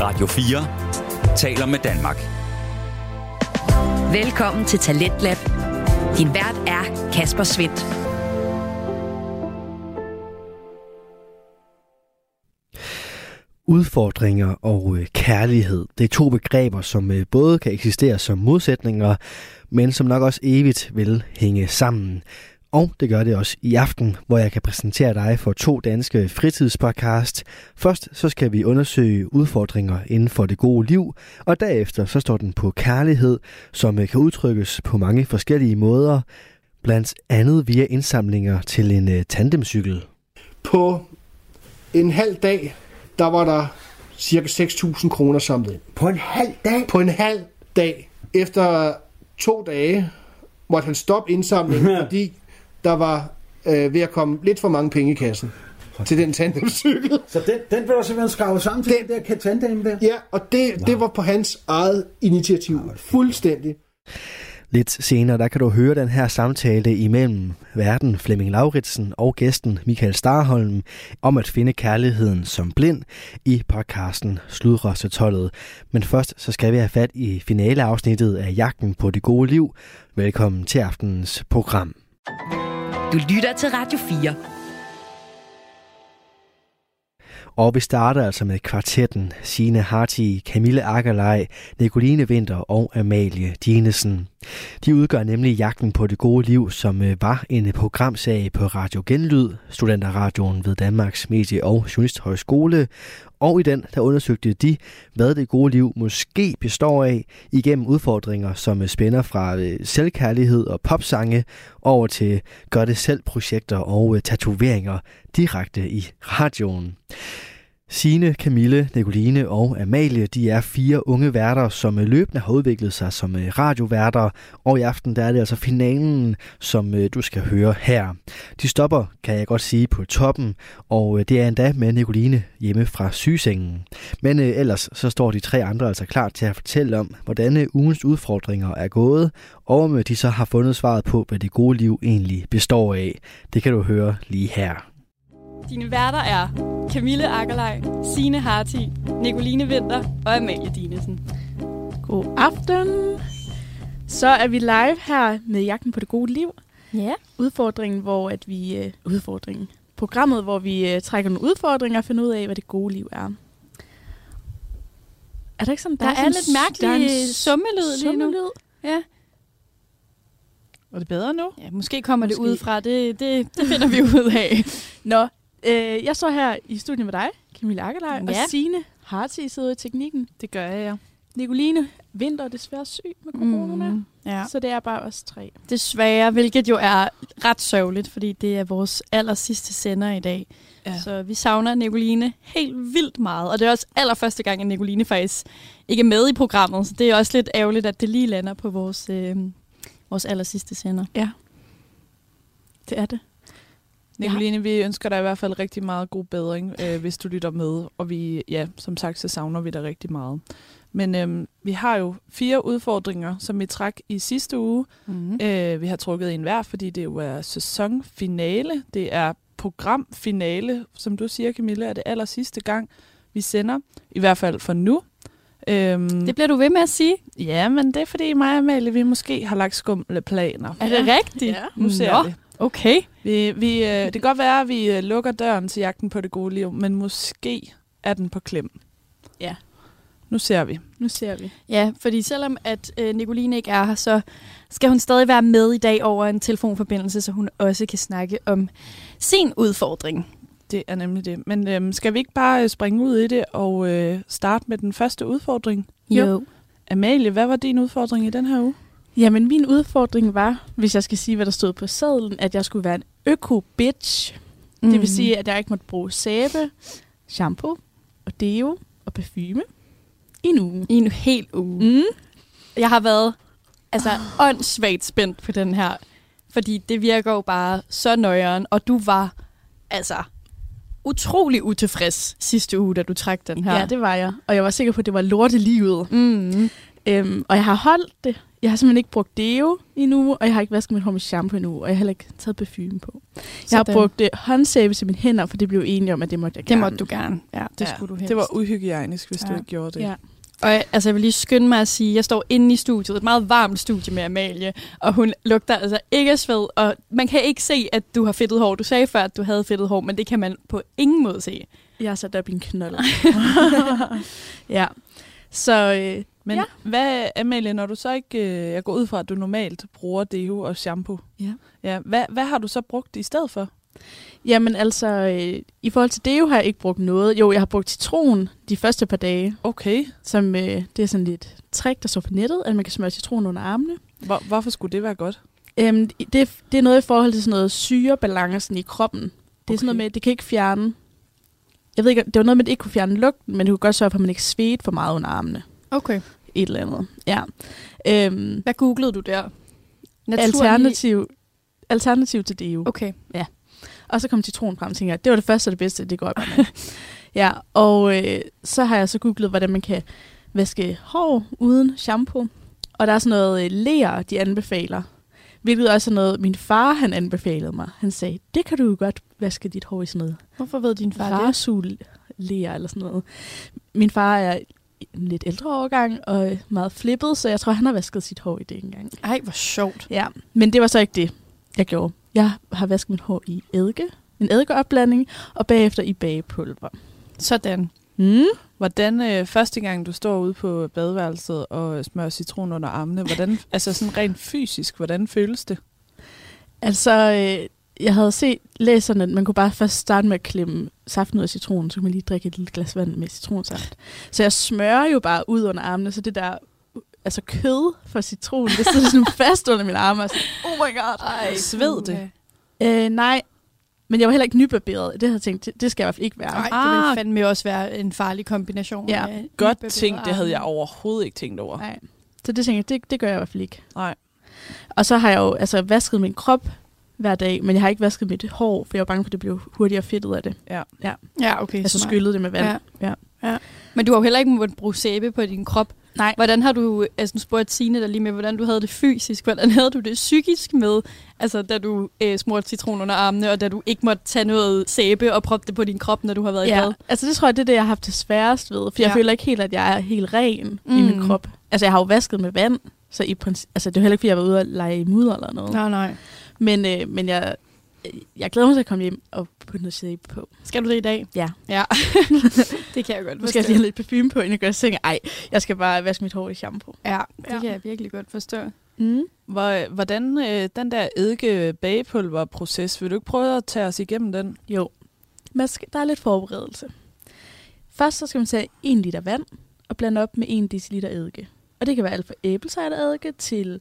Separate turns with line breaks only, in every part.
Radio 4 taler med Danmark.
Velkommen til Talentlab. Din vært er Kasper Svendt.
Udfordringer og øh, kærlighed, det er to begreber, som øh, både kan eksistere som modsætninger, men som nok også evigt vil hænge sammen. Og det gør det også i aften, hvor jeg kan præsentere dig for to danske fritidspodcast. Først så skal vi undersøge udfordringer inden for det gode liv, og derefter så står den på kærlighed, som øh, kan udtrykkes på mange forskellige måder, blandt andet via indsamlinger til en øh, tandemcykel.
På en halv dag, der var der cirka 6.000 kroner samlet ind.
På en halv dag?
På en halv dag. Efter to dage måtte han stoppe indsamlingen, fordi der var øh, ved at komme lidt for mange penge i kassen til den tandemcykel.
Så den, den blev der simpelthen skravet sammen til den, den der katandame der?
Ja, og det, det var på hans eget initiativ. Fuldstændig.
Lidt senere, der kan du høre den her samtale imellem verden Flemming Lauritsen og gæsten Michael Starholm om at finde kærligheden som blind i podcasten Sludrostetollet. Men først så skal vi have fat i finaleafsnittet af Jagten på det gode liv. Velkommen til aftenens program.
Du lytter til Radio 4.
Og vi starter altså med kvartetten Sine Harti, Camille Akkerlej, Nicoline Vinter og Amalie Dinesen. De udgør nemlig Jagten på det gode liv, som øh, var en programsag på Radio Genlyd, Studenterradioen ved Danmarks Medie- og Journalisthøjskole. Og i den, der undersøgte de, hvad det gode liv måske består af, igennem udfordringer, som øh, spænder fra øh, selvkærlighed og popsange over til gør-det-selv-projekter og øh, tatoveringer direkte i radioen. Sine, Camille, Nicoline og Amalie, de er fire unge værter, som øh, løbende har udviklet sig som øh, radioværter, og i aften der er det altså finalen, som øh, du skal høre her. De stopper, kan jeg godt sige, på toppen, og øh, det er endda med Nicoline hjemme fra sygesengen. Men øh, ellers så står de tre andre altså klar til at fortælle om, hvordan øh, ugens udfordringer er gået, og om øh, de så har fundet svaret på, hvad det gode liv egentlig består af. Det kan du høre lige her.
Dine værter er Camille Akkerlej, Sine Harti, Nicoline Vinter og Amalie Dinesen.
God aften. Så er vi live her med Jagten på det gode liv.
Ja.
Udfordringen, hvor at vi... Øh, udfordringen. Programmet, hvor vi øh, trækker nogle udfordringer og finder ud af, hvad det gode liv er. Er der ikke sådan...
Der, der er,
sådan
lidt
en s-
mærkelig
der er en
en summelyd lige nu.
summelyd.
Ja.
Var det bedre nu?
ja, måske kommer det
Måske.
ud fra. Det, det, det finder vi ud af.
Nå, øh, jeg står her i studiet med dig, Camille Akkerlej, ja.
Ja.
og Signe Harti sidder i teknikken.
Det gør jeg, ja.
Nicoline Vinter er desværre syg med corona. Mm.
ja.
Så det er bare os tre.
Desværre, hvilket jo er ret sørgeligt, fordi det er vores aller sidste sender i dag.
Ja.
Ja. Så vi savner Nicoline helt vildt meget. Og det er også allerførste gang, at Nicoline faktisk ikke er med i programmet. Så det er også lidt ærgerligt, at det lige lander på vores, øh, vores aller sidste sender.
Det er det.
Nicoline, vi ønsker dig i hvert fald rigtig meget god bedring, øh, hvis du lytter med. Og vi, ja, som sagt, så savner vi dig rigtig meget. Men øhm, vi har jo fire udfordringer, som vi trak i sidste uge.
Mm.
Øh, vi har trukket en hver, fordi det jo er sæsonfinale. Det er programfinale, som du siger, Camilla, er det aller sidste gang, vi sender. I hvert fald for nu. Øhm,
Det bliver du ved med at sige.
Ja, men det er fordi mig og Amalie, vi måske har lagt skumle planer.
Er det rigtigt?
Ja.
Nu ser
Nå.
det.
Okay.
Vi, vi, øh, det kan godt være, at vi øh, lukker døren til jagten på det gode liv, men måske er den på klem.
Ja.
Nu ser vi.
Nu ser vi.
Ja, fordi selvom at øh, Nicoline ikke er her, så skal hun stadig være med i dag over en telefonforbindelse, så hun også kan snakke om sin udfordring.
Det er nemlig det. Men øhm, skal vi ikke bare øh, springe ud i det og øh, starte med den første udfordring? Jo. Amalie, hvad var din udfordring i den her uge?
Jamen, min udfordring var, hvis jeg skal sige, hvad der stod på sadlen, at jeg skulle være en øko-bitch. Mm.
Mhm.
Det vil sige, at jeg ikke måtte bruge sæbe, shampoo og deo og parfume i en uge.
i en hel uge.
Mm.
Jeg har været altså åndssvagt spændt på den her, fordi det virker jo bare så nøjeren, og du var altså utrolig utilfreds sidste uge, da du trak den her.
Ja, det var jeg. Og jeg var sikker på, at det var lortelivet.
mm.
Øhm, og jeg har holdt det. Jeg har simpelthen ikke brugt deo endnu, og jeg har ikke vasket mit hår med shampoo endnu, og jeg har heller ikke taget parfume på. Sådan. Jeg har
Sådan.
brugt øh, håndsæbe til mine hænder, for det blev enige om, at det måtte jeg
Det
gerne.
måtte du gerne. Ja, det ja, skulle du helst.
Det var uhygiejnisk, hvis ja. du
Ja.
ikke gjorde det.
Ja.
Og jeg, altså, jeg vil lige skynde mig at sige, at jeg står inde i studiet, et meget varmt studie med Amalie, og hun lugter altså ikke af sved, og man kan ikke se, at du har fedtet hår. Du sagde før, at du havde fedtet hår, men det kan man på ingen måde se.
Jeg har sat op i en knold. ja. Så øh,
Men
Ja.
ja. hvad, Amalie, når du så ikke... øh, Jeg går ud fra, at du normalt bruger deo og shampoo.
Ja.
ja hvad, hvad har du så brugt i stedet for?
jamen altså, øh, i forhold til deo har jeg ikke brugt noget. Jo, jeg har brugt citron de første par dage,
Okay.
som øh, det er sådan lidt trick, der står på nettet, at man kan smøre citron under armene.
Hvor, hvorfor skulle det være godt?
Øhm, det, det er noget i forhold til sådan noget syrebalancen i kroppen. Det er okay. sådan noget
Okay.
med, at det kan ikke fjerne... Jeg ved ikke, det var noget med, at det ikke kunne fjerne lugten, men det kunne godt sørge for, at man ikke svedte for meget under armene.
Okay.
Et eller andet. Ja. Øhm,
Hvad googlede du der? Naturlig...
alternativ, alternativ til deo.
Okay.
Og så kom citron frem, tænker jeg, det var det første og det bedste, det går jeg bare med. ja, og øh, så har jeg så googlet, hvordan man kan vaske hår uden shampoo. Og der er sådan noget øh, ler, de anbefaler. Hvilket også er noget, min far han anbefalede mig. Han sagde, det kan du jo godt vaske dit hår i sådan noget
Hvorfor ved din far det?
rasul ler eller sådan noget. Min far er en lidt ældre årgang og øh, meget flippet, så jeg tror, han har vasket sit hår i det engang.
Ej, hvor sjovt.
Ja, men det var så ikke det, jeg gjorde. Jeg har vasket mit hår i eddike, en eddikeopblanding, og bagefter i bagepulver.
Sådan.
Mm.
Hvordan øh, første gang, du står ude på badeværelset og smører citron under armene, hvordan, altså sådan rent fysisk, hvordan føles det?
Altså, øh, jeg havde set læserne, at man kunne bare først starte med at klemme saften ud af citronen, så kunne man lige drikke et lille glas vand med citronsaft. Så jeg smører jo bare ud under armene, så det der altså kød for citronen, det sidder sådan fast under mine arme. og sådan,
Oh my god. Ej, Sved det.
Øh, nej, men jeg var heller ikke nybarberet. Det havde jeg tænkt, det, det skal jeg i hvert fald ikke være.
Nej, det ville
Ah.
fandme også være en farlig kombination.
Ja.
af
Godt
ubebedre
tænkt, det havde jeg
arme.
overhovedet ikke tænkt over.
Nej. Så det tænker jeg, det, det gør jeg i hvert fald ikke.
Nej.
Og så har jeg jo altså, vasket min krop hver dag, men jeg har ikke vasket mit hår, for jeg var bange for, at det blev hurtigere fedtet af det.
Ja, okay.
Jeg så
smart.
skyllede det med vand.
Ja.
ja.
Men du har jo heller ikke måttet bruge sæbe på din krop.
Nej.
Hvordan har du, altså nu spurgte Signe der lige med, hvordan du havde det fysisk, hvordan havde du det psykisk med, altså da du øh, smurte citron under armene, og da du ikke måtte tage noget sæbe og proppe det på din krop, når du har været i bad?
ja. Altså det tror jeg, det er det, jeg har haft det sværest ved, for ja. jeg
Ja.
føler ikke helt, at jeg er helt ren mm. i
Mm.
min krop. Altså jeg har jo vasket med vand, så i princi- altså, det er jo heller ikke, fordi jeg var ude og lege i mudder eller noget.
Nej, nej.
Men, øh, men jeg, jeg glæder mig til at komme hjem og putte noget sæbe på.
Skal du det i dag?
Ja.
Ja. det kan jeg godt
Nu skal jeg lige have lidt parfume på, inden jeg går i seng. Ej, jeg skal bare vaske mit hår i shampoo.
Ja,
Ja.
det kan jeg virkelig godt forstå.
Mm.
Hvor, hvordan øh, den der eddike bagepulverproces, vil du ikke prøve at tage os igennem den?
Jo. Man skal, der er lidt forberedelse. Først så skal man tage 1 liter vand og blande op med 1 dl eddike. Og det kan være alt fra æblecidereddike til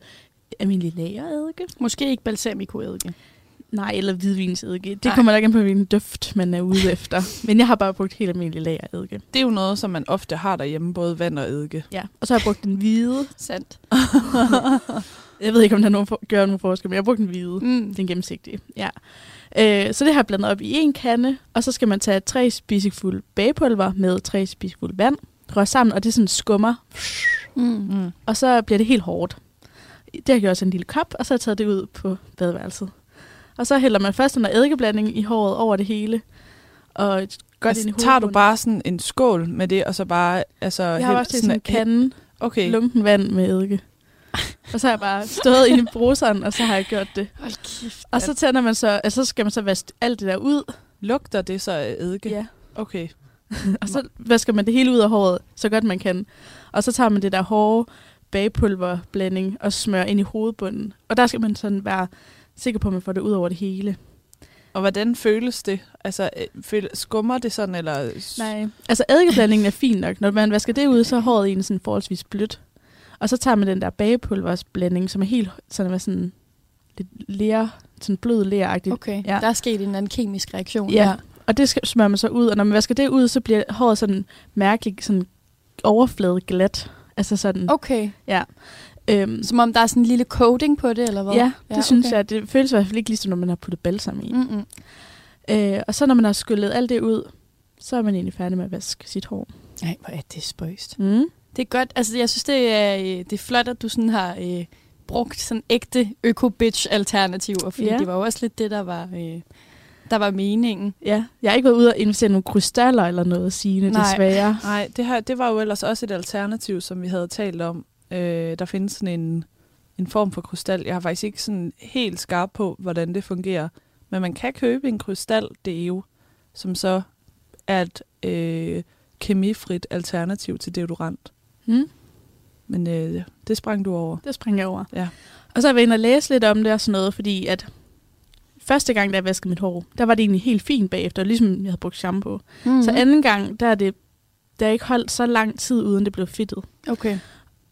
almindelig lagereddike.
Måske ikke balsamicoeddike.
Nej, eller hvidvinseddike. Det
Nej.
kommer nok an på, hvilken duft man er ude efter. Men jeg har bare brugt helt almindelig lagereddike.
Det er jo noget, som man ofte har derhjemme, både vand og eddike.
Ja. Og så har jeg brugt den hvide.
Sandt.
Jeg ved ikke, om der er nogen for, gør nogen forskel, men jeg har brugt den hvide.
Mm.
Den gennemsigtige, ja. Øh, så det har jeg blandet op i en kande, og så skal man tage tre spisefulde bagepulver med tre spisefulde vand, røre sammen, og det sådan skummer,
Mm.
Mm.
og så bliver det helt hårdt. Det har jeg gjort sådan en lille kop, og så har jeg taget det ud på badeværelset. Og så hælder man først den her eddikeblanding i håret over det hele, og godt ind i
Altså,
hovedet.
tager du bare sådan en skål med det, og så bare... Altså,
Jeg har også taget sådan en kande,
Okay,
lumpen vand med eddike. Og så har jeg bare stået inde i bruseren, og så har jeg gjort det.
Hold kæft.
Og så tænder man så, altså, så skal man så vaske alt det der ud.
lugter det så af eddike? Okay.
Og så vasker man det hele ud af håret, så godt man kan. Og så tager man det der hårde bagepulverblanding og smører ind i hovedbunden. Og der skal man sådan være sikker på, at man får det ud over det hele.
Og hvordan føles det? Altså, øh, føl, skummer det sådan, eller... s-
Nej. Altså eddikeblandingen er fin nok. Når man vasker det ud, så er håret egentlig sådan forholdsvis blødt. Og så tager man den der bagepulversblanding, som er helt sådan, er sådan lidt ler, sådan blød leragtig.
Okay,
Ja.
ja. der er sket en eller anden kemisk reaktion.
Ja,
der.
og det skal- smører man så ud, og når man vasker det ud, så bliver håret sådan mærkeligt sådan overflade glat. Altså sådan,
Okay,
øhm,
som om der er sådan en lille coating på det, eller hvad?
Ja, det ja, synes jeg. Det føles i hvert fald ikke ligesom, når man har puttet balsam i. Mm.
Mm-mm.
Øh, og så når man har skyllet alt det ud, så er man egentlig færdig med at vaske sit hår.
Nej, hvor er det spøjst.
Mm.
Det er godt. Altså, jeg synes, det er, øh, det er flot, at du sådan har øh, brugt sådan ægte øko-bitch-alternativer, fordi
Ja.
det var jo også lidt det, der var, øh, der var meningen.
Ja, jeg har ikke været ude og investere nogle krystaller eller noget sigende,
Nej.
desværre.
Nej, det, her, det var jo ellers også et alternativ, som vi havde talt om. Øh, der findes sådan en, en form for krystal. Jeg har faktisk ikke sådan helt skarp på, hvordan det fungerer. Men man kan købe en krystal, det er jo, som så er et øh, kemifrit alternativ til deodorant.
Mm.
Men øh, det sprang du over.
Det springer jeg over.
Ja.
Og så har jeg været inde og læse lidt om det og sådan noget, fordi at første gang, da jeg vaskede mit hår, der var det egentlig helt fint bagefter, ligesom jeg havde brugt shampoo. Mm.
Mm.
Så anden gang, der er det der er ikke holdt så lang tid, uden det blev fedtet.
okay.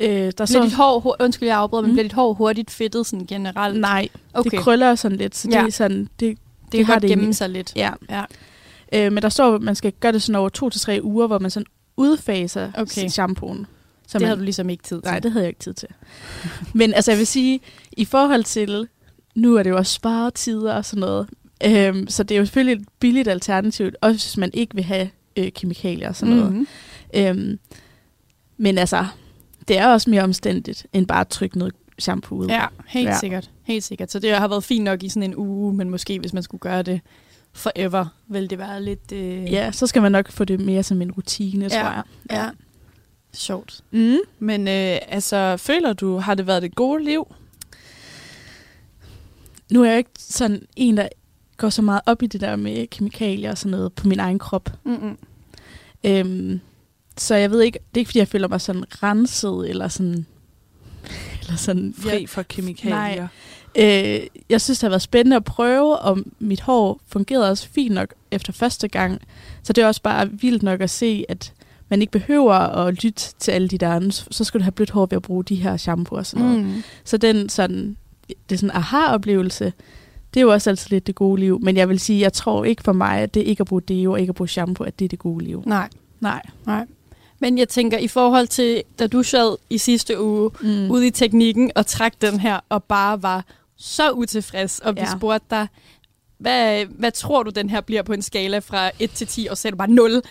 Øh, der
Bliver
så,
dit hår, hu- undskyld, jeg afbryder, men
Mm.
bliver dit hår hurtigt fedtet sådan generelt?
nej,
okay.
okay. det krøller sådan lidt, så det
Ja.
er sådan, det,
det kan
har
godt
det
gemme
egentlig.
sig lidt.
ja.
Ja.
Øh, men der står, at man skal gøre det sådan over to til tre uger, hvor man sådan udfaser
Okay.
okay. shampooen. Så
Det
man,
havde du ligesom ikke tid til.
Nej, det havde jeg ikke tid til. Men altså, jeg vil sige, i forhold til, nu er det jo også sparetider og sådan noget, øhm, så det er jo selvfølgelig et billigt alternativ, også hvis man ikke vil have øh, kemikalier og sådan noget.
Mhm.
Øhm, men altså, det er også mere omstændigt, end bare at trykke noget shampoo ud.
Ja, helt ja.
Ja.
sikkert. Helt sikkert. Så det har været fint nok i sådan en uge, men måske hvis man skulle gøre det forever, ville det være lidt... Øh...
ja, så skal man nok få det mere som en rutine,
Ja.
tror jeg.
ja. Sjovt.
Mm.
Men øh, altså, føler du, har det været det gode liv?
Nu er jeg jo ikke sådan en, der går så meget op i det der med kemikalier og sådan noget på min egen krop.
Mm-mm.
Øhm, så jeg ved ikke, det er ikke fordi, jeg føler mig sådan renset, eller sådan... Eller sådan
Fri for kemikalier?
Øh, jeg synes, det har været spændende at prøve, og mit hår fungerede også fint nok efter første gang. Så det er også bare vildt nok at se, at man ikke behøver at lytte til alle de der andre. Så så skal du have blødt hår ved at bruge de her shampoo og sådan noget. Mm.
Mm.
Så den sådan, det er sådan aha-oplevelse, det er jo også altid lidt det gode liv. Men jeg vil sige, jeg tror ikke for mig, at det ikke at bruge deo og ikke at bruge shampoo, at det er det gode liv.
Nej.
Nej.
Men jeg tænker, i forhold til, da du sad i sidste uge
Mm.
ude i teknikken og trak den her, og bare var så utilfreds, og vi ja.
Ja.
spurgte dig, hvad, hvad tror du, den her bliver på en skala fra 1 til 10, og så sagde du bare 0.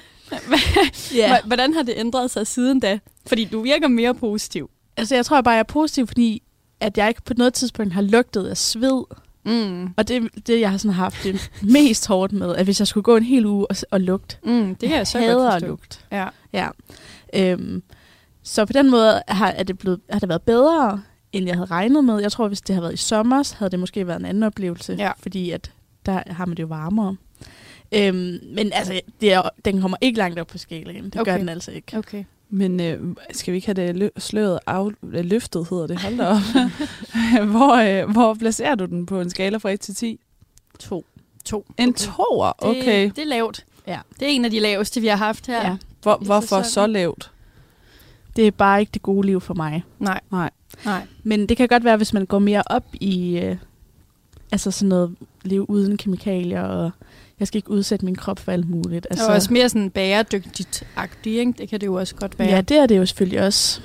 Ja. Hvordan har det ændret sig siden da? Fordi du virker mere positiv.
Altså, jeg tror bare, jeg er positiv, fordi at jeg ikke på noget tidspunkt har lugtet af sved.
Mm.
Og det, det jeg har sådan haft det mest hårdt med, at hvis jeg skulle gå en hel uge og, s- og lugte.
Mm, det kan jeg så
hader
godt
at
forstå.
lugte.
Ja.
Ja. Øhm, så på den måde har, er det blevet, har det været bedre, end jeg havde regnet med. Jeg tror, hvis det havde været i sommer, så havde det måske været en anden oplevelse.
Ja.
Fordi at der har man det jo varmere. Øhm, men altså, det er, den kommer ikke langt op på skalaen. Det okay.
Okay.
gør den altså ikke.
Okay.
Men øh, skal vi ikke have det lø- sløret af, øh, løftet, hedder det, hold da op. hvor, øh, hvor placerer du den på en skala fra 1 til 10?
To.
To.
En toer, okay.
Det, det er lavt.
Ja.
Det er en af de laveste, vi har haft her.
Ja.
Hvor,
så
hvorfor så
sådan.
lavt?
Det er bare ikke det gode liv for mig.
Nej.
Nej.
Nej.
Men det kan godt være, hvis man går mere op i øh, altså sådan noget liv uden kemikalier, og jeg skal ikke udsætte min krop for alt muligt.
Altså,
Altså,
og også mere sådan bæredygtigt-agtigt, ikke? Det kan det jo også godt være.
ja, det er det jo selvfølgelig også.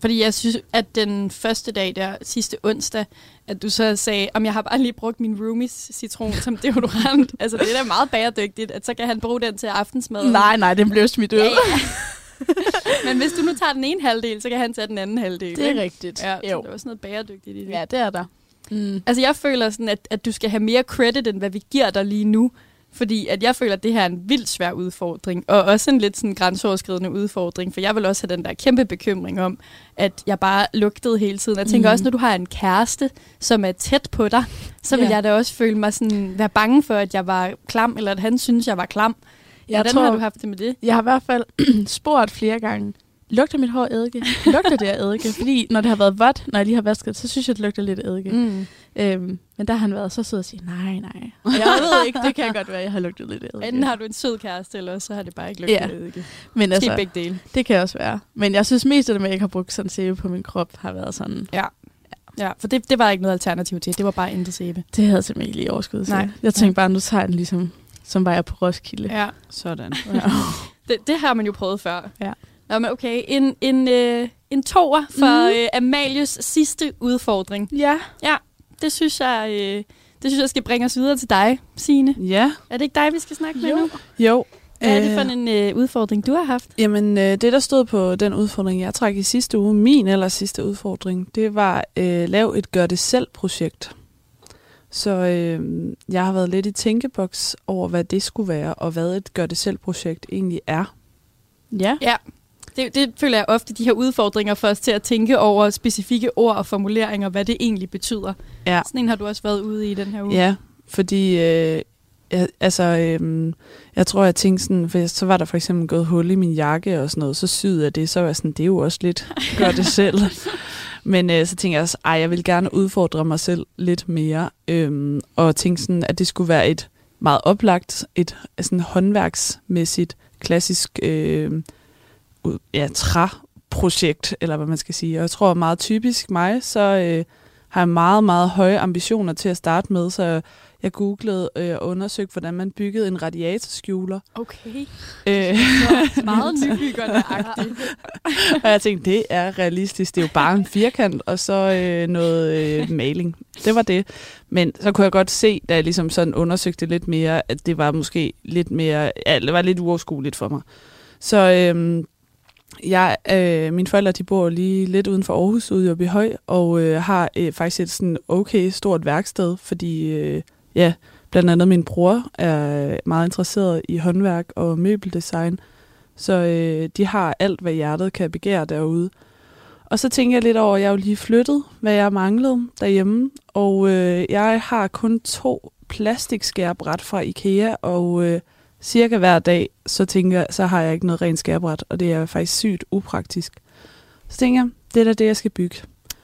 Fordi jeg synes, at den første dag der, sidste onsdag, at du så sagde, om jeg har bare lige brugt min roomies citron som deodorant. altså, det er da meget bæredygtigt, at så kan han bruge den til aftensmad.
Nej, nej, den blev smidt ud.
Mm. Ja, ja. Men hvis du nu tager den ene halvdel, så kan han tage den anden halvdel.
Det
ikke?
er rigtigt.
Ja, så
jo.
der er også noget bæredygtigt i det.
ja det er der. Mm.
Altså, jeg føler sådan, at, at du skal have mere credit, end hvad vi giver dig lige nu. Fordi at jeg føler, at det her er en vildt svær udfordring, og også en lidt sådan grænseoverskridende udfordring, for jeg vil også have den der kæmpe bekymring om, at jeg bare lugtede hele tiden. Jeg tænker mm.
Mhm.
også, når du har en kæreste, som er tæt på dig, så vil
Ja.
jeg da også føle mig sådan, være bange for, at jeg var klam, eller at han synes, jeg var klam. Jeg
Jeg,
Hvordan tror...
tror,
har du haft det med det?
jeg har i hvert fald spurgt flere gange, lugter mit hår af eddike? Lugter det af eddike? Fordi når det har været vådt, når jeg lige har vasket, det, så synes jeg, det lugter lidt af eddike.
Mm.
Øhm, men der har han været så sød og sige, nej, nej. Og jeg ved ikke, det kan godt være, jeg har lugtet lidt af eddike.
Enten har du en sød kæreste, eller også så har det bare ikke lugtet.
Ja.
af eddike.
Men
Måske
altså,
altså... begge dele.
Det kan også være. Men jeg synes mest, at det med, at jeg ikke har brugt sådan sæbe på min krop, har været sådan...
Ja, for det, det var ikke noget alternativ til. Det var bare intet sæbe.
Det havde jeg simpelthen ikke lige overskud til.
Nej.
Jeg tænkte bare, nu tager jeg den ligesom, som var jeg på Roskilde.
Ja.
Sådan.
Ja.
Det, det har man jo prøvet før.
Ja.
Nå, men okay. En, en, øh, en toer for mm. øh, Amalies sidste udfordring.
ja.
Det synes jeg... Øh, det synes jeg skal bringe os videre til dig, Signe.
Ja,
Er det ikke dig, vi skal snakke med
Jo.
nu?
jo.
Hvad er det for en øh, udfordring, du har haft?
Jamen, øh, det der stod på den udfordring, jeg trak i sidste uge, min eller sidste udfordring, det var øh, lav et gør-det-selv-projekt. Så øh, jeg har været lidt i tænkeboks over, hvad det skulle være, og hvad et gør-det-selv-projekt egentlig er.
Ja.
Ja. Det, det føler jeg ofte, de her udfordringer får os til at tænke over specifikke ord og formuleringer, hvad det egentlig betyder.
Ja.
Sådan en har du også været ude i den her uge.
Ja, fordi øh, jeg, altså, øh, jeg tror, jeg tænkte sådan, for jeg- så var der for eksempel gået hul i min jakke og sådan noget, så syede jeg det, så var jeg sådan, det er jo også lidt, gør det selv. Men øh, så tænkte jeg også, ej, jeg vil gerne udfordre mig selv lidt mere, øh, og tænkte sådan, at det skulle være et meget oplagt, et sådan håndværksmæssigt, klassisk øh, ud- ja, træprojekt, eller hvad man skal sige. Og jeg tror, meget typisk mig, så øh, har jeg meget, meget høje ambitioner til at starte med, så jeg googlede øh, og undersøgte, hvordan man byggede en radiatorskjuler.
Okay.
Øh,
Så meget nybyggerne-agtigt.
og jeg tænkte, det er realistisk. Det er jo bare en firkant, og så øh, noget øh, maling. Det var det. Men så kunne jeg godt se, da jeg ligesom sådan undersøgte lidt mere, at det var måske lidt mere, ja, det var lidt uoverskueligt for mig. Så øh, jeg, øh, mine forældre, de bor lige lidt uden for Aarhus, ude i Åbyhøj, og øh, har øh, faktisk et sådan okay stort værksted, fordi øh, ja, blandt andet min bror er meget interesseret i håndværk og møbeldesign, så øh, de har alt, hvad hjertet kan begære derude. Og så tænker jeg lidt over, at jeg er jo lige flyttet, hvad jeg manglede derhjemme. Og øh, jeg har kun to plastikskærbræt fra Ikea, og øh, cirka hver dag, så tænker jeg, så har jeg ikke noget rent skærbræt, og det er faktisk sygt upraktisk. Så tænker jeg, det er da det, jeg skal bygge.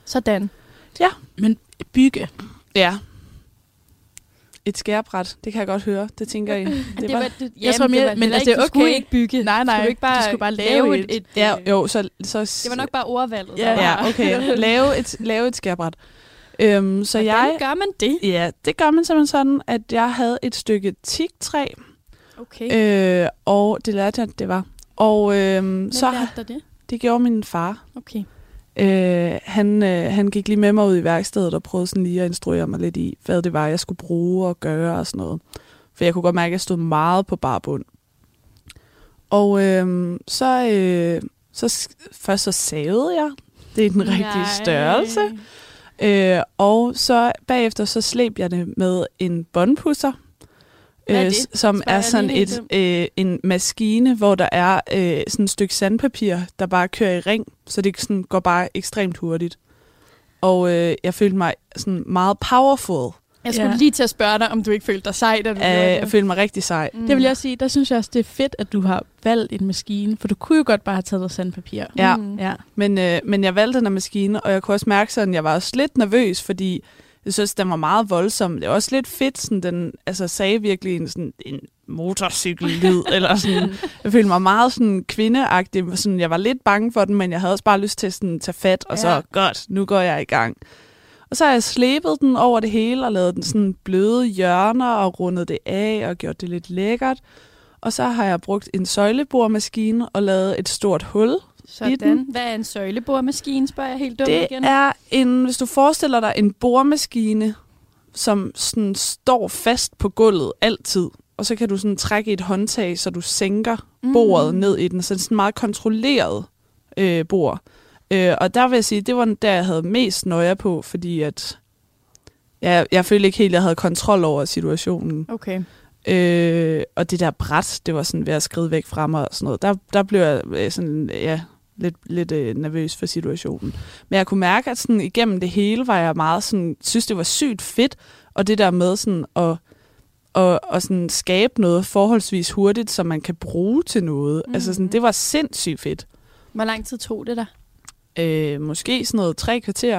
Sådan.
Men bygge.
Ja. Et skærbræt, det kan jeg godt høre. Det tænker jeg. Det var,
det,
Jeg tror mere-
det var,
men
heller
altså,
ikke-
det er
Du skulle
okay.
ikke bygge.
Ah,
Nej, nej,
Du skulle ikke
du
bare,
skulle bare lave
et,
et.
et,
ja,
øh,
jo, så, så...
Det var nok bare ordvalget.
Ja.
Ja, okay. Lave et, lave et skærbræt. Øhm, så
Så jeg...
jeg...
Hvordan gør man det?
Ja, det gør man simpelthen sådan, at jeg havde et stykke teaktræ,
Okay.
øh, og det lærte jeg, at det var. Og øh,
Hvem så...
så
lærte dig det?
det gjorde min far.
Okay.
Øh, han, øh, han gik lige med mig ud i værkstedet og prøvede sådan lige at instruere mig lidt i, hvad det var, jeg skulle bruge og gøre og sådan noget. For jeg kunne godt mærke, at jeg stod meget på bar bund. Og øh, så, øh, så sk- først så savede jeg. Det er den rigtige
Nej.
størrelse. Øh, og så bagefter så slæb jeg det med en båndpusser,
Hvad er
øh,
det?
s- som
Spørger
er
jeg
sådan
lige
et,
lidt
øh, en maskine, hvor der er øh, sådan et stykke sandpapir, der bare kører i ring, så det sådan går bare ekstremt hurtigt. Og øh, jeg følte mig sådan meget powerful.
Jeg skulle
Ja.
lige til at spørge dig, om du ikke følte dig sej, da du
Øh, jeg følte mig rigtig sej.
Mm.
Det vil jeg også sige, der synes jeg også, det er fedt, at du har valgt en maskine, for du kunne jo godt bare have taget noget sandpapir.
Ja.
Mm.
Ja.
Men, øh, men jeg valgte den her maskine, og jeg kunne også mærke sådan, at jeg var også lidt nervøs, fordi jeg synes, den var meget voldsom. Det var også lidt fedt, sådan den altså, sagde virkelig en, sådan, en motorcykellyd, eller sådan. Jeg følte mig meget sådan kvindeagtig. Sådan, jeg var lidt bange for den, men jeg havde også bare lyst til sådan, at tage fat, og ja.
Ja.
så, godt, nu går jeg i gang. Og så har jeg slæbet den over det hele, og lavet den sådan bløde hjørner, og rundet det af, og gjort det lidt lækkert. Og så har jeg brugt en søjlebormaskine og lavet et stort hul, i
Sådan.
den.
Hvad er en søjleboremaskine, spørger jeg helt dumt
det
igen.
er en, hvis du forestiller dig en boremaskine, som sådan står fast på gulvet altid, og så kan du sådan trække i et håndtag, så du sænker mm. bordet ned i den, så det er sådan meget kontrolleret øh, bord. Øh, og der vil jeg sige, det var den der, jeg havde mest nøje på, fordi at jeg, jeg følte ikke helt, at jeg havde kontrol over situationen.
Okay.
Øh, og det der bræt, det var sådan ved at skride væk fra mig og sådan noget. Der, der blev jeg øh, sådan, ja, lidt, lidt øh, nervøs for situationen. Men jeg kunne mærke, at sådan igennem det hele var jeg meget sådan, synes det var sygt fedt, og det der med sådan at og, og sådan skabe noget forholdsvis hurtigt, som man kan bruge til noget. Mm. Altså sådan, det var sindssygt fedt.
Hvor lang tid tog det dig?
Øh, måske sådan noget tre kvarter.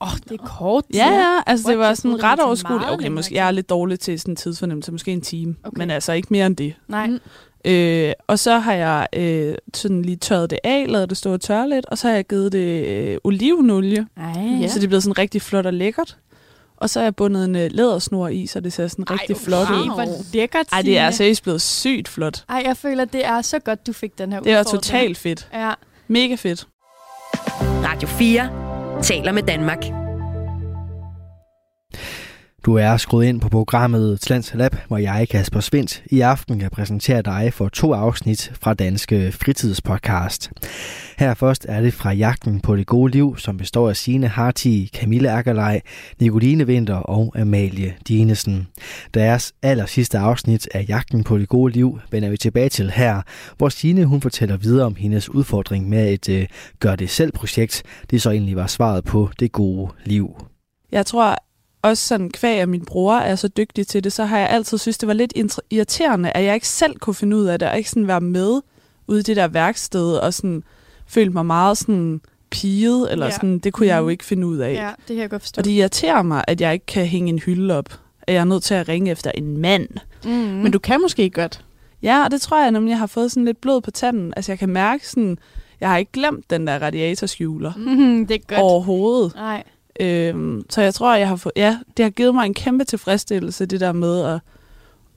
Åh, oh, det er kort tid.
Ja, ja, altså
What?
det var
Jeg troede,
sådan
det ville
ret
tage
overskueligt.
meget
Okay,
længere
måske,
tid.
jeg er lidt dårlig til sådan en tidsfornemmelse, måske en time.
Okay.
Okay. Men altså ikke mere end det.
Nej.
Mm.
Øh, og så har jeg øh, sådan lige tørret det af, lavet det stå og tørre lidt, og så har jeg givet det øh, olivenolie,
Ej.
ja. så det er blevet sådan rigtig flot og lækkert. Og så har jeg bundet en øh, lædersnor i, så det ser sådan rigtig flot ud.
Ej, altså- hvor lækkert,
Ej, det er
Signe.
seriøst blevet sygt flot.
Ej, jeg føler, det er så godt, du fik den her
Det er
udfordring.
totalt fedt.
Ja.
Mega fedt.
Radio 4 taler med Danmark.
Du er skruet ind på programmet Tlands Lab, hvor jeg, Kasper Svindt, i aften kan præsentere dig for to afsnit fra Danske Fritidspodcast. Her først er det fra Jagten på det gode liv, som består af Signe Harti, Camille Akkerlej, Nicoline Vinter og Amalie Dinesen. Deres aller sidste afsnit af Jagten på det gode liv vender vi tilbage til her, hvor Signe hun fortæller videre om hendes udfordring med et øh, gør-det-selv-projekt. Det så egentlig var svaret på det gode liv.
Jeg tror også sådan, kvæg af min bror er så dygtig til det, så har jeg altid synes, det var lidt inter- irriterende, at jeg ikke selv kunne finde ud af det, og ikke sådan være med ude i det der værksted, og sådan følte mig meget sådan piget, eller
Ja. Mm.
ja. sådan, det kunne jeg jo ikke finde ud af.
Ja, det kan jeg godt forstå.
Og det irriterer mig, at jeg ikke kan hænge en hylde op, at jeg er nødt til at ringe efter en mand.
mm.
Men du kan måske godt.
Ja, og det tror jeg nemlig, jeg har fået sådan lidt blod på tanden. Altså, jeg kan mærke sådan, jeg har ikke glemt den der radiatorskjuler
Mm, det er godt.
overhovedet.
Nej.
Øhm, så jeg tror, jeg har fået, ja, det har givet mig en kæmpe tilfredsstillelse, det der med at,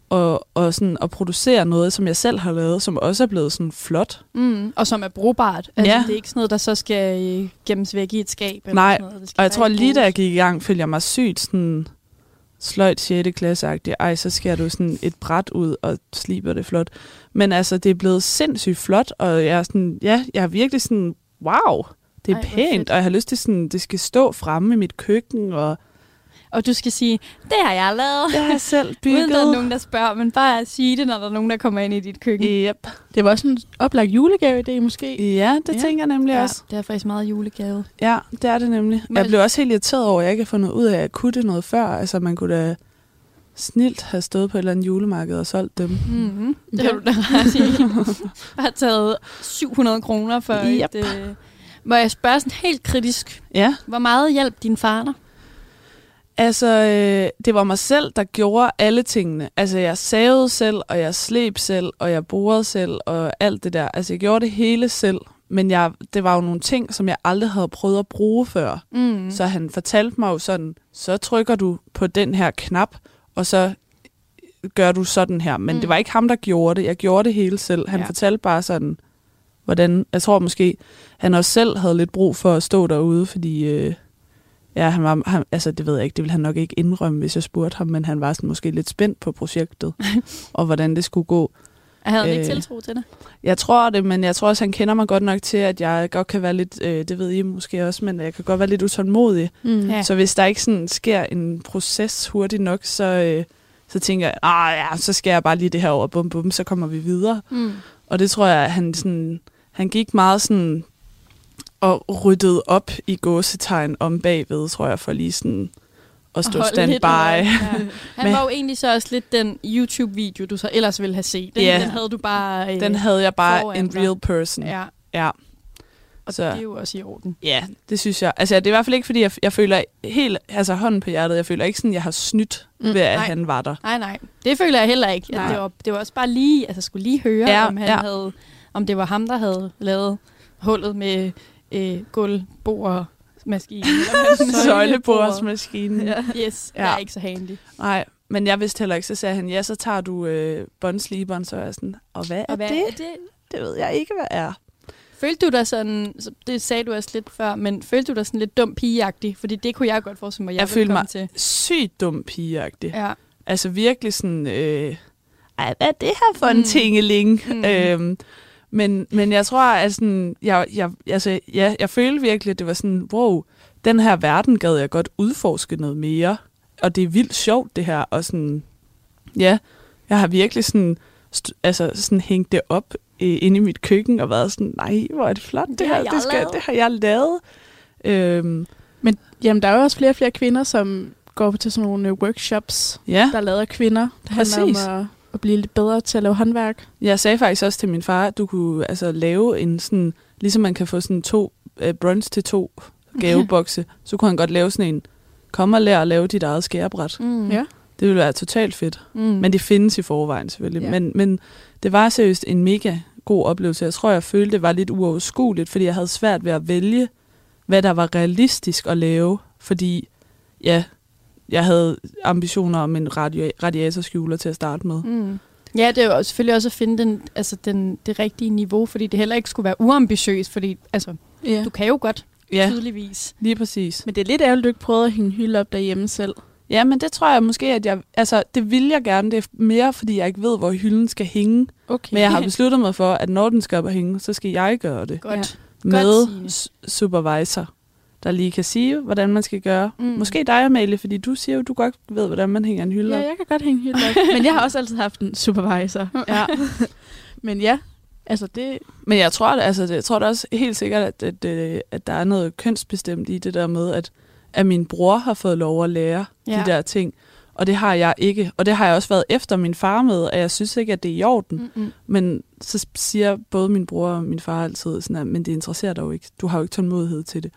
og, og sådan at producere noget, som jeg selv har lavet, som også er blevet sådan flot.
Mm. Og som er brugbart. Altså,
Ja.
Det er ikke sådan noget, der så skal øh, gemmes væk i et skab. Eller
Nej,
sådan noget. Det skal
Og jeg
bare
tror
ikke
lige da jeg
bruges.
gik i gang, følte jeg mig sygt sådan sløjt 6. klasseagtig. Ej, så skærer du sådan et bræt ud og sliber det flot. Men altså, det er blevet sindssygt flot, og jeg er sådan, ja, jeg er virkelig sådan, wow, det er
Ej,
Ej,
hvor fedt.
pænt, og jeg har lyst til sådan, det skal stå fremme i mit køkken, og
Og du skal sige, det har jeg lavet.
det har jeg selv
Uden der er
bygget.
nogen, der spørger, men bare sige det, når der er nogen, der kommer ind i dit køkken.
Yep.
Det var også en oplagt julegaveidé måske.
Ja, det
Ja.
ja. tænker jeg nemlig ja. også.
det er faktisk meget julegave.
Ja, det er det nemlig.
Men-
Men... Jeg blev også helt irriteret over, at jeg ikke har fundet ud af, at jeg kunne det noget før. Altså, man kunne da snilt have stået på et eller andet julemarked og solgt dem.
Mm-hmm.
Ja.
Det har du da ret i. Jeg har taget 700 kroner for et...
Yep.
Øh... Må jeg spørge sådan helt kritisk,
Ja,
hvor meget hjælp din far dig?
altså, øh, det var mig selv, der gjorde alle tingene. Altså, jeg savede selv, og jeg slæb selv, og jeg borede selv, og alt det der. Altså, jeg gjorde det hele selv. Men jeg, det var jo nogle ting, som jeg aldrig havde prøvet at bruge før.
Mm.
Så han fortalte mig jo sådan, så trykker du på den her knap, og så gør du sådan her. Men
Mm.
mm. det var ikke ham, der gjorde det. Jeg gjorde det hele selv. Han
Ja.
ja. fortalte bare sådan, hvordan... Jeg tror måske, han også selv havde lidt brug for at stå derude, fordi... Øh, ja, han var... Han, altså, det ved jeg ikke. Det ville han nok ikke indrømme, hvis jeg spurgte ham, men han var sådan måske lidt spændt på projektet, og hvordan det skulle gå.
Jeg havde øh... ikke
Øh.
tiltro til det.
Jeg tror det, men jeg tror også, han kender mig godt nok til, at jeg godt kan være lidt... Øh, det ved I måske også, men jeg kan godt være lidt utålmodig.
Mm.
Ja.
Så hvis der ikke sådan sker en proces hurtigt nok, så, øh, så tænker jeg, ah ja, så skal jeg bare lige det her over, bum bum, så kommer vi videre.
Mm.
Og det tror jeg, at han, sådan, han gik meget sådan og ryddede op i gåsetegn om bagved, tror jeg, for lige sådan at stå
holde lidt
standby.
øje. Ja. Han
Men-
var jo egentlig så også lidt den YouTube-video, du så ellers ville have set. Den,
Ja.
den havde du bare... Øh...
Den havde jeg bare
Foran
en
dig.
real person. Ja.
Ja,
ja.
og
Så-
så... det er jo også i orden.
Ja, det synes jeg. Altså, det er i hvert fald ikke, fordi jeg, jeg føler helt, altså hånden på hjertet, jeg føler ikke sådan, jeg har snydt
Mm,
mm, ved, at
nej.
han var der.
Nej, nej. Det føler jeg heller ikke.
Nej.
Det var, det var også bare lige, altså jeg skulle lige høre, ja,
Ja,
om, han ja.
ja.
havde, om det var ham, der havde lavet hullet med øh, gulvboremaskinen.
Søjlebordsmaskinen. ja.
Yes, ja.
Ja.
jeg er ikke så handy.
Nej, men jeg vidste heller ikke. Så sagde han, ja, så tager du øh, båndsliberen, så er jeg sådan, og hvad er
Og hvad
det?
er det?
Det ved jeg ikke, hvad er.
Følte du dig sådan, så det sagde du også lidt før, men følte du dig sådan lidt dum pigeagtig? Fordi det kunne jeg godt forestille mig, jeg,
Jeg
ville
følte
komme til.
mig- Sygt dum pigeagtig. Ja.
Ja.
Altså virkelig sådan, øh, ej, hvad er det her for en mm. tingeling?
Mm.
Mm. Øhm, men, men jeg tror, at sådan, jeg, jeg, altså, ja, jeg følte virkelig, at det var sådan, wow, den her verden gad jeg godt udforske noget mere. Og det er vildt sjovt, det her. Og sådan, ja, jeg har virkelig sådan, st- altså, sådan hængt det op øh, inde i mit køkken og været sådan, nej, hvor er det flot, det,
Det
det
har
her.
jeg
Det, skal,
lavet."
det har jeg lavet. Øhm,
Men jamen, der er jo også flere og flere kvinder, som går til sådan nogle øh, workshops,
ja,
der er lavet af kvinder. Det handler
Præcis.
om at, at blive lidt bedre til at lave håndværk.
jeg sagde faktisk også til min far, at du kunne altså, lave en sådan, ligesom man kan få sådan to øh, brunch til to gavebokse, så kunne han godt lave sådan en, kom og lær at lave dit eget skærebræt.
Mm.
Ja.
Det ville være totalt fedt.
Mm.
Men det findes i forvejen selvfølgelig.
Ja.
Ja. Men, men det var seriøst en mega god oplevelse. Jeg tror, jeg følte, det var lidt uoverskueligt, fordi jeg havde svært ved at vælge, hvad der var realistisk at lave. Fordi, ja, jeg havde ambitioner om en radio- radiatorskjuler til at starte med.
Mm. Ja, det er jo selvfølgelig også at finde den, altså den, det rigtige niveau, fordi det heller ikke skulle være uambitiøst, fordi altså,
Ja.
du kan jo godt, ja.
Ja,
tydeligvis.
lige præcis.
Men det er lidt ærgerligt, du ikke prøvede at hænge hylde op derhjemme selv.
Ja, men det tror jeg måske, at jeg... Altså, det vil jeg gerne. Det er mere, fordi jeg ikke ved, hvor hylden skal hænge.
Okay.
Men jeg har besluttet mig for, at når den skal op at hænge, så skal jeg gøre det.
Godt.
med
Signe.
s- supervisor, der lige kan sige, hvordan man skal gøre.
Mm.
Mm. Måske dig, Amalie, fordi du siger jo, du godt ved, hvordan man hænger en hylde
Ja,
op.
jeg kan godt hænge helt op. Men jeg har også altid haft en supervisor. Ja. Men ja, altså det...
Men jeg tror, at, altså, det- jeg tror da også helt sikkert, at, at, øh, at der er noget kønsbestemt i det der med, at, at min bror har fået lov at lære ja.
Ja.
de der ting, og det har jeg ikke. Og det har jeg også været efter min far med, at jeg synes ikke, at det er i orden. Mm.
Mm-mm.
Men så s- siger både min bror og min far altid, sådan, at, men det interesserer dig jo ikke. Du har jo ikke tålmodighed til det.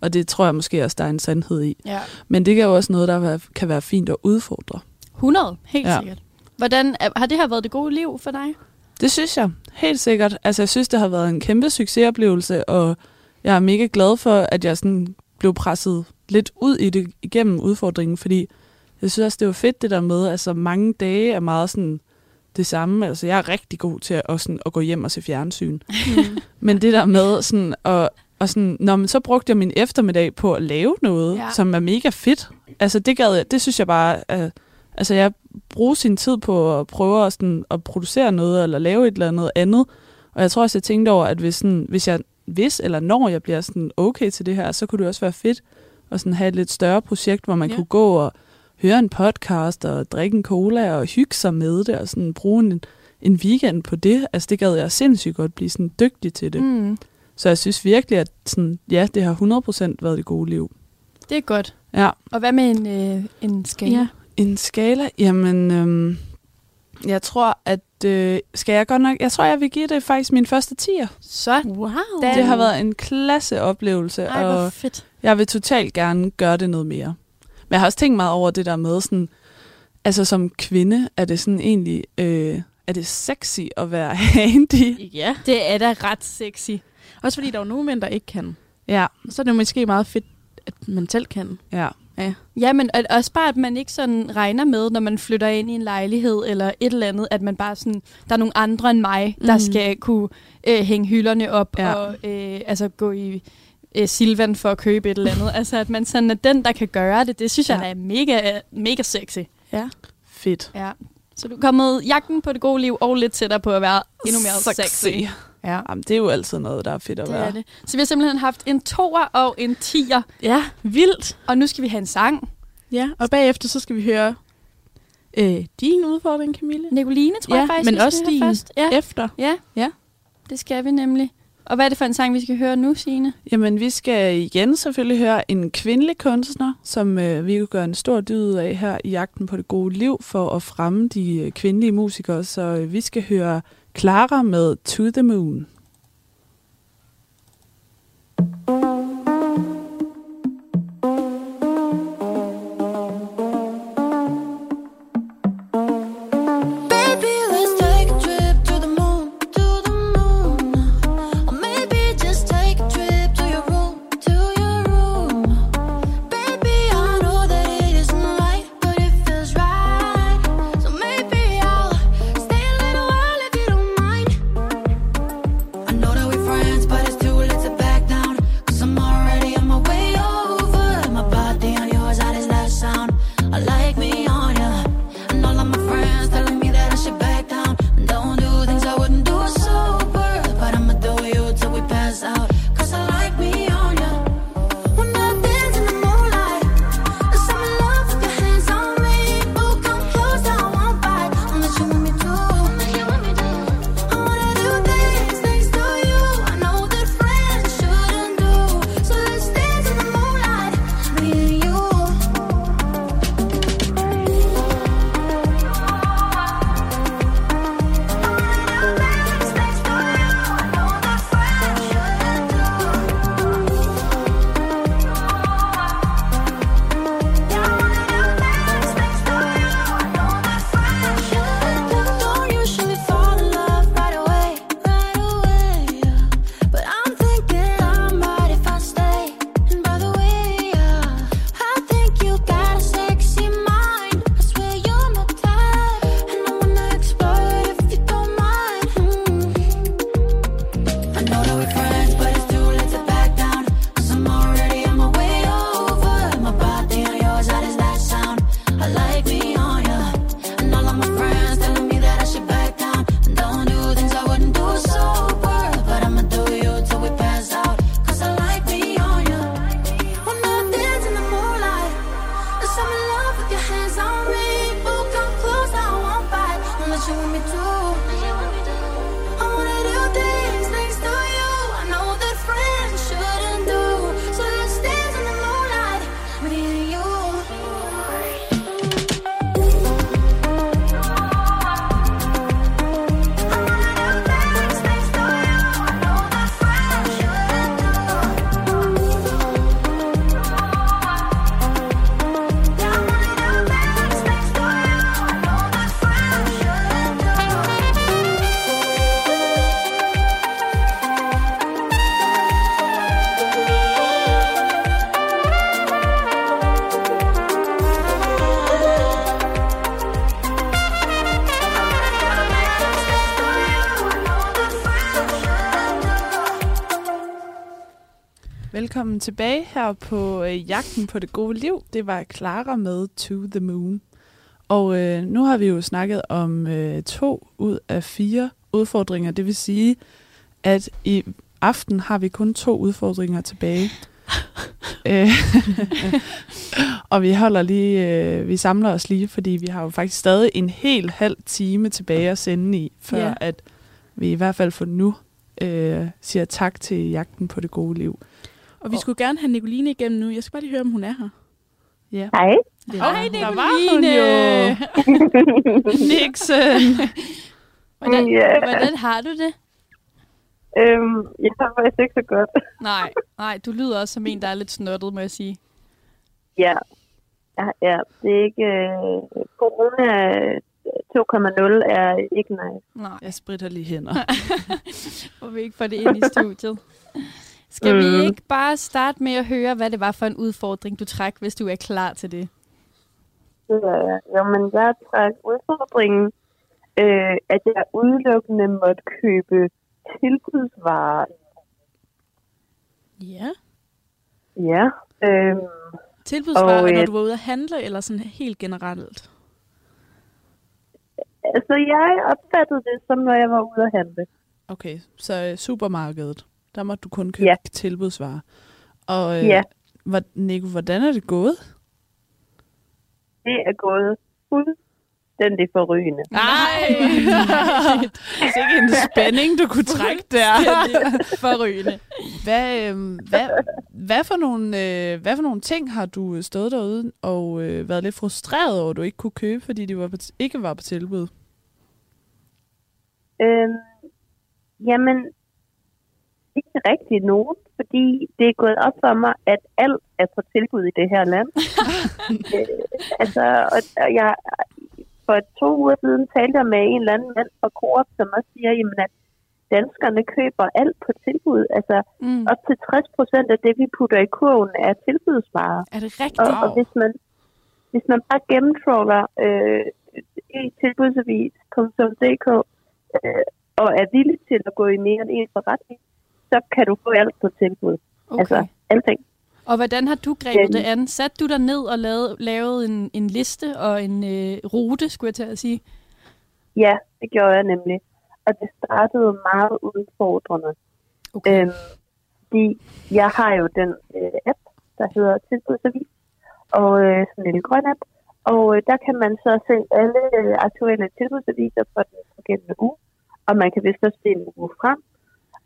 Og det tror jeg måske også, der er en sandhed i.
Ja.
Men det kan jo også noget, der være- kan være fint at udfordre.
100, helt
Ja.
ja. sikkert. Hvordan, er- har det her været det gode liv for dig?
Det synes jeg, helt sikkert. Altså, jeg synes, det har været en kæmpe succesoplevelse, og jeg er mega glad for, at jeg sådan blev presset lidt ud i det igennem udfordringen, fordi jeg synes også, det var fedt det der med, altså mange dage er meget sådan det samme. Altså, jeg er rigtig god til at, og sådan, at gå hjem og se fjernsyn. Men det der med sådan, og, og sådan, nå, men så brugte jeg min eftermiddag på at lave noget, ja.
Ja.
som er mega fedt. Altså, det gad jeg, det synes jeg bare, øh, altså jeg bruger sin tid på at prøve at, sådan, at producere noget, eller lave et eller andet andet. Og jeg tror også, jeg tænkte over, at hvis, sådan, hvis jeg hvis eller når jeg bliver sådan okay til det her, så kunne det også være fedt at sådan have et lidt større projekt, hvor man
Ja.
ja. kunne gå og høre en podcast og drikke en cola og hygge sig med det og sådan bruge en, en weekend på det. Altså det gad jeg sindssygt godt blive sådan dygtig til det. Mm. Så jeg synes virkelig, at sådan, ja, det har 100% været det gode liv.
Det er godt.
Ja.
Og hvad med en, øh, en skala?
Ja.
En skala? Jamen, øhm, jeg tror, at... Øh, skal jeg godt nok... Jeg tror, jeg vil give det faktisk min første tier.
Sådan.
Wow.
Da-
Det har været øh, en klasse oplevelse,
Ej, hvor
og
fedt.
jeg vil totalt gerne gøre det noget mere. Men jeg har også tænkt meget over det der med sådan... Altså som kvinde, er det sådan egentlig... Øh, er det sexy at være handy?
Ja.
Det er da ret sexy.
Også fordi der er jo nogle mænd, der ikke kan.
Ja,
Så er det jo måske meget fedt, at man selv kan.
ja.
Ja, men og- også bare, at man ikke sådan regner med, når man flytter ind i en lejlighed eller et eller andet, at man bare sådan, der er nogle andre end mig, mm. der
Mm.
skal kunne øh, hænge hylderne op
Ja.
ja. og øh, altså gå i øh, Silvan for at købe et eller andet. altså, at man sådan er den, der kan gøre det, det synes ja.
Ja.
jeg er mega, mega sexy.
Fedt.
Ja. Så du er kommet jagten på det gode liv og lidt tættere på at være endnu mere sexy. sexy.
Ja. Jamen, det er jo altid noget, der er fedt at
Det
være.
er det. Så vi har simpelthen haft en toer og en tier,
Ja, vildt.
og nu skal vi have en sang.
Ja, og bagefter så skal vi høre øh, din udfordring, Camille.
Nicoline, tror
Ja,
jeg faktisk,
men
vi skal
også
høre
din.
først. Ja.
Efter.
Ja.
Ja.
Det skal vi nemlig. Og hvad er det for en sang, vi skal høre nu, Signe?
Jamen, vi skal igen selvfølgelig høre en kvindelig kunstner, som øh, vi jo gør en stor dyd ud af her i Jagten på det gode liv for at fremme de øh, kvindelige musikere. Så øh, vi skal høre Clara med To The Moon.
Baby, let's take a trip to the moon, to the moon. Or maybe just take a trip to your room, to your room. Baby, I know that it isn't right, but it feels right. So maybe I'll stay a little while if you don't mind. I know that we're friends, but it's too late to back down. Cause I'm already on my way over. My body on yours, how does that sound? I like me on ya. And all of my friends telling me that I should back down. And don't do things I wouldn't do sober. But I'ma do you till we pass out. Cause I like me on ya. When I dance in the moonlight, cause I'm in love with your hands on me. Oh, come close, I won't bite. Unless you want me to. Unless you want me to. I wanna do things next to you. I know that friends shouldn't do. So let's dance in the moonlight, me and you. Don't usually fall in love right away, right away. But I'm thinking I'm right if I stay. And by the way, yeah, I think you got a sexy mind. I swear you're my type, and I wanna explore it if you don't mind. Mm-hmm. I know that we're friends, but it's too late to back down. Cause I'm already on my way over. My body on yours, how does that sound?
Velkommen tilbage her på øh, Jagten på det gode liv. Det var Clara med To the Moon. Og øh, nu har vi jo snakket om øh, to ud af fire udfordringer. Det vil sige, at i aften har vi kun to udfordringer tilbage. Øh, og vi holder lige, øh, vi samler os lige, fordi vi har jo faktisk stadig en hel halv time tilbage at sende i, før
Ja.
yeah. at vi i hvert fald for nu øh, siger tak til jagten på det gode liv.
Og vi skulle gerne have Nicoline igennem nu. Jeg skal bare lige høre, om hun er her.
Ja.
Hej.
Ja.
Hej,
Der var hun
Nicoline!
jo.
Nixon. Hvordan,
Ja.
hvordan har du det?
Øhm, jeg har faktisk ikke så godt.
Nej, nej, du lyder også som en, der er lidt snottet, må jeg sige.
Ja. Ja, ja. det er ikke... Øh, corona 2.0 er ikke nice.
Nej,
Jeg spritter lige hænder.
hvor vi ikke får det ind i studiet. Skal
Øh.
vi ikke bare starte med at høre, hvad det var for en udfordring, du trak, hvis du er klar til det?
Det er, jo, men jeg trak udfordringen, øh, at jeg udelukkende måtte købe tilbudsvarer.
Ja.
Ja. Øhm,
Tilbudsvarer,
Og, øh,
når du var ude at handle, eller sådan helt generelt?
altså, jeg opfattede det som, når jeg var ude at handle.
Okay, så øh, supermarkedet, der måtte du kun købe
Ja.
ja. tilbudsvarer. Og øh,
Ja.
ja. hvor, Nico, hvordan er det gået?
Det er gået fuldstændig forrygende.
Nej! det er ikke en spænding, du kunne trække der.
Forrygende.
Hvad, øhm, hvad, hvad, for nogle, øh, hvad for nogle ting har du øh, stået derude og øh, været lidt frustreret over, at du ikke kunne købe, fordi de var på, ikke var på tilbud?
Øhm, jamen, ikke rigtig nogen, fordi det er gået op for mig, at alt er på tilbud i det her land. øh, altså, og, og jeg, for to uger siden talte jeg med en eller anden mand fra Coop, som også siger, jamen, at danskerne køber alt på tilbud. Altså,
Mm.
op til 60 procent af det, vi putter i kurven, er tilbudsvarer.
Er det
Og,
rigtigt?
og hvis man hvis man bare gennemtrawler øh, en tilbudsavis.dk øh, og er villig til at gå i mere end en forretning, så kan du få alt på tilbud.
Okay.
Altså, alting.
Og hvordan har du grebet
Ja.
det an? Satte du dig ned og lavede, lavede en, en liste og en øh, rute, skulle jeg til at sige?
Ja, det gjorde jeg nemlig. Og det startede meget udfordrende.
Okay.
Øhm, fordi jeg har jo den øh, app, der hedder Tilbudsavis, og øh, sådan en lille grøn app. Og øh, der kan man så se alle øh, aktuelle tilbudsaviser for den forgældende uge, og man kan vist også se en uge frem.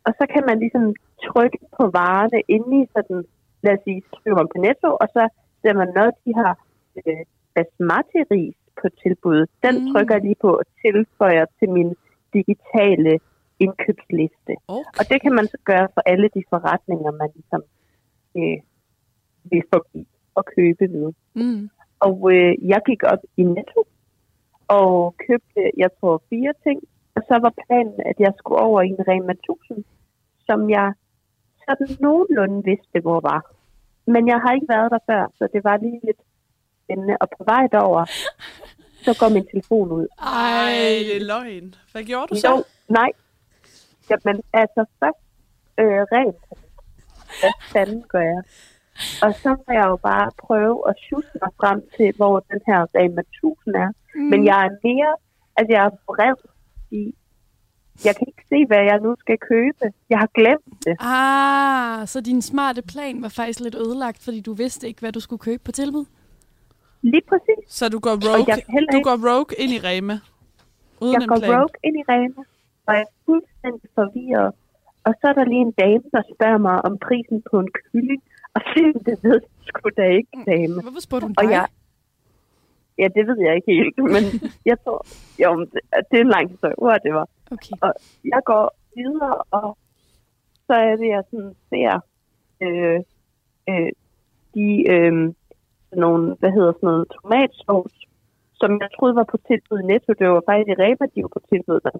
Og så kan man ligesom trykke på varerne inde i sådan, lad os sige, skriver man på netto, og så ser man noget, de har øh, basmati-ris på tilbud. Den
Mm.
mm. trykker jeg lige på og tilføjer til min digitale indkøbsliste.
Okay.
Og det kan man så gøre for alle de forretninger, man ligesom øh, vil forbi og købe ved.
Mm.
Og øh, jeg gik op i Netto og købte, jeg tror, fire ting. Og så var planen, at jeg skulle over i en Rema 1000, som jeg sådan nogenlunde vidste, hvor var. Men jeg har ikke været der før, så det var lige lidt spændende. Og på vej derover, så går min telefon ud.
Ej, det er løgn. Hvad gjorde du så?
Jo, nej. Jamen, altså først øh, rent. Hvad fanden gør jeg? Og så må jeg jo bare prøve at shoote mig frem til, hvor den her Rema 1000 er. Mm. Men jeg er mere, altså jeg er vred i, jeg kan ikke se, hvad jeg nu skal købe. Jeg har glemt det.
Ah, så din smarte plan var faktisk lidt ødelagt, fordi du vidste ikke, hvad du skulle købe på tilbud?
Lige præcis.
Så du går
jeg
rogue,
kan heller
du
ikke-
går rogue ind i Rema? Uden
Jeg
en
går
plan.
rogue ind i Rema, og jeg er fuldstændig forvirret. Og så er der lige en dame, der spørger mig om prisen på en kylling, og siger, det ved jeg sgu da ikke, dame.
Hvorfor spurgte hun
Og
dig?
jeg, ja, det ved jeg ikke helt, men jeg tror, jo, men det, det er en lang historie, hvor det var.
Okay.
Og jeg går videre, og så er det, jeg sådan ser øh, øh, de øh, sådan nogle, hvad hedder sådan noget, tomatsovs, som jeg troede var på tilbud i Netto. Det var faktisk i Rema, de var på tilbud. Der.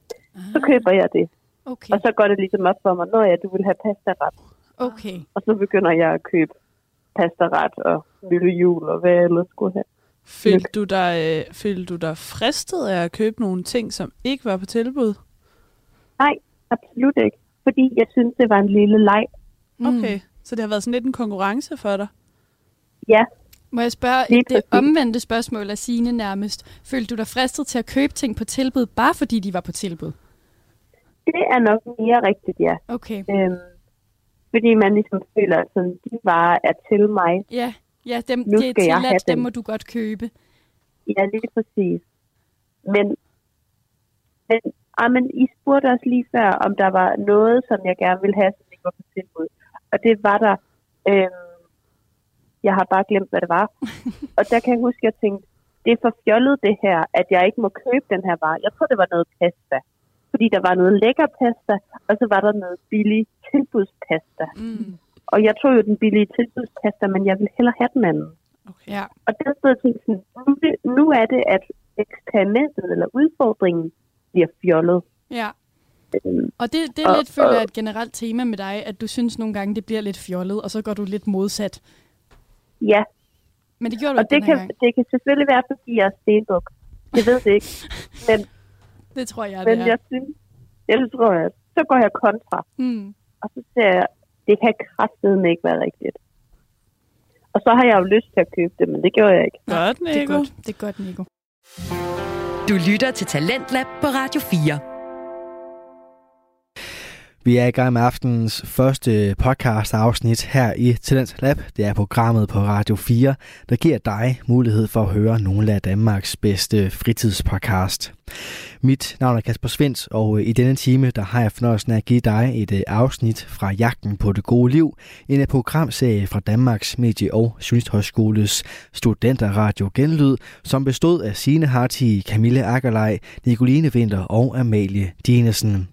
Så køber jeg det,
Okay,
og så går det ligesom op for mig, når jeg du vil have pastaret.
okay.
Og så begynder jeg at købe pastaret og møllehjul og hvad jeg ellers skulle have.
Følte du, dig, øh, følte du dig fristet af at købe nogle ting, som ikke var på tilbud?
Nej, absolut ikke. Fordi jeg synes, det var en lille leg.
Okay, mm. Så det har været sådan lidt en konkurrence for dig.
Ja,
Må jeg spørge
Lige
et det
præcis.
omvendte spørgsmål af Signe nærmest. Følte du dig fristet til at købe ting på tilbud, bare fordi de var på tilbud?
det er nok mere rigtigt, ja.
Okay.
Øhm, fordi man ligesom føler, at sådan, de varer er til mig.
Ja, ja dem,
Nu
det er
skal jeg have
tilladt, dem
dem.
må du godt købe.
Ja, lige præcis. Men, men, ah, men I spurgte også lige før, om der var noget, som jeg gerne ville have, som ikke var på tilbud. Og det var der. Øhm, jeg har bare glemt, hvad det var. og der kan jeg huske, at jeg tænkte, det er for fjollet det her, at jeg ikke må købe den her vare. Jeg tror, det var noget pasta. Fordi der var noget lækker pasta, og så var der noget billig tilbudspasta.
Mm.
Og jeg tog jo den billige tilbudspasta, men jeg ville hellere have den anden.
Ja.
Og der stod jeg og tænkte sådan, nu, er det- nu er det, at eksperimentet eller udfordringen bliver fjollet.
Ja,
Øhm,
og det, det
Og-
er lidt, føler jeg,
og-
et generelt tema med dig, at du synes nogle gange, det bliver lidt fjollet, og så går du lidt modsat.
Ja,
Men det gjorde du
og
ikke
det
den her
kan,
gang.
det kan selvfølgelig være, fordi jeg er stenbuk. Jeg ved det ikke. Men,
Det tror jeg,
men
det er.
jeg synes, jeg tror, at så går jeg kontra.
Mm.
Og så ser jeg, det kan kraftedeme ikke være rigtigt. Og så har jeg jo lyst til at købe det, men det gjorde jeg ikke.
Godt,
Det er godt, det er godt, Nico.
Du lytter til Talentlab på Radio 4.
Vi er i gang med aftenens første podcast afsnit her i Talent Lab. Det er programmet på Radio 4, der giver dig mulighed for at høre nogle af Danmarks bedste fritidspodcast. Mit navn er Kasper Svens, og øh, i denne time der har jeg fornøjelsen af at give dig et øh, afsnit fra Jagten på det gode liv, en øh, programserie fra Danmarks Medie- og Journalisthøjskoles Studenterradio Genlyd, som bestod af Signe Hartig, Camille Akkerlej, Nicoline Vinter og Amalie Dinesen.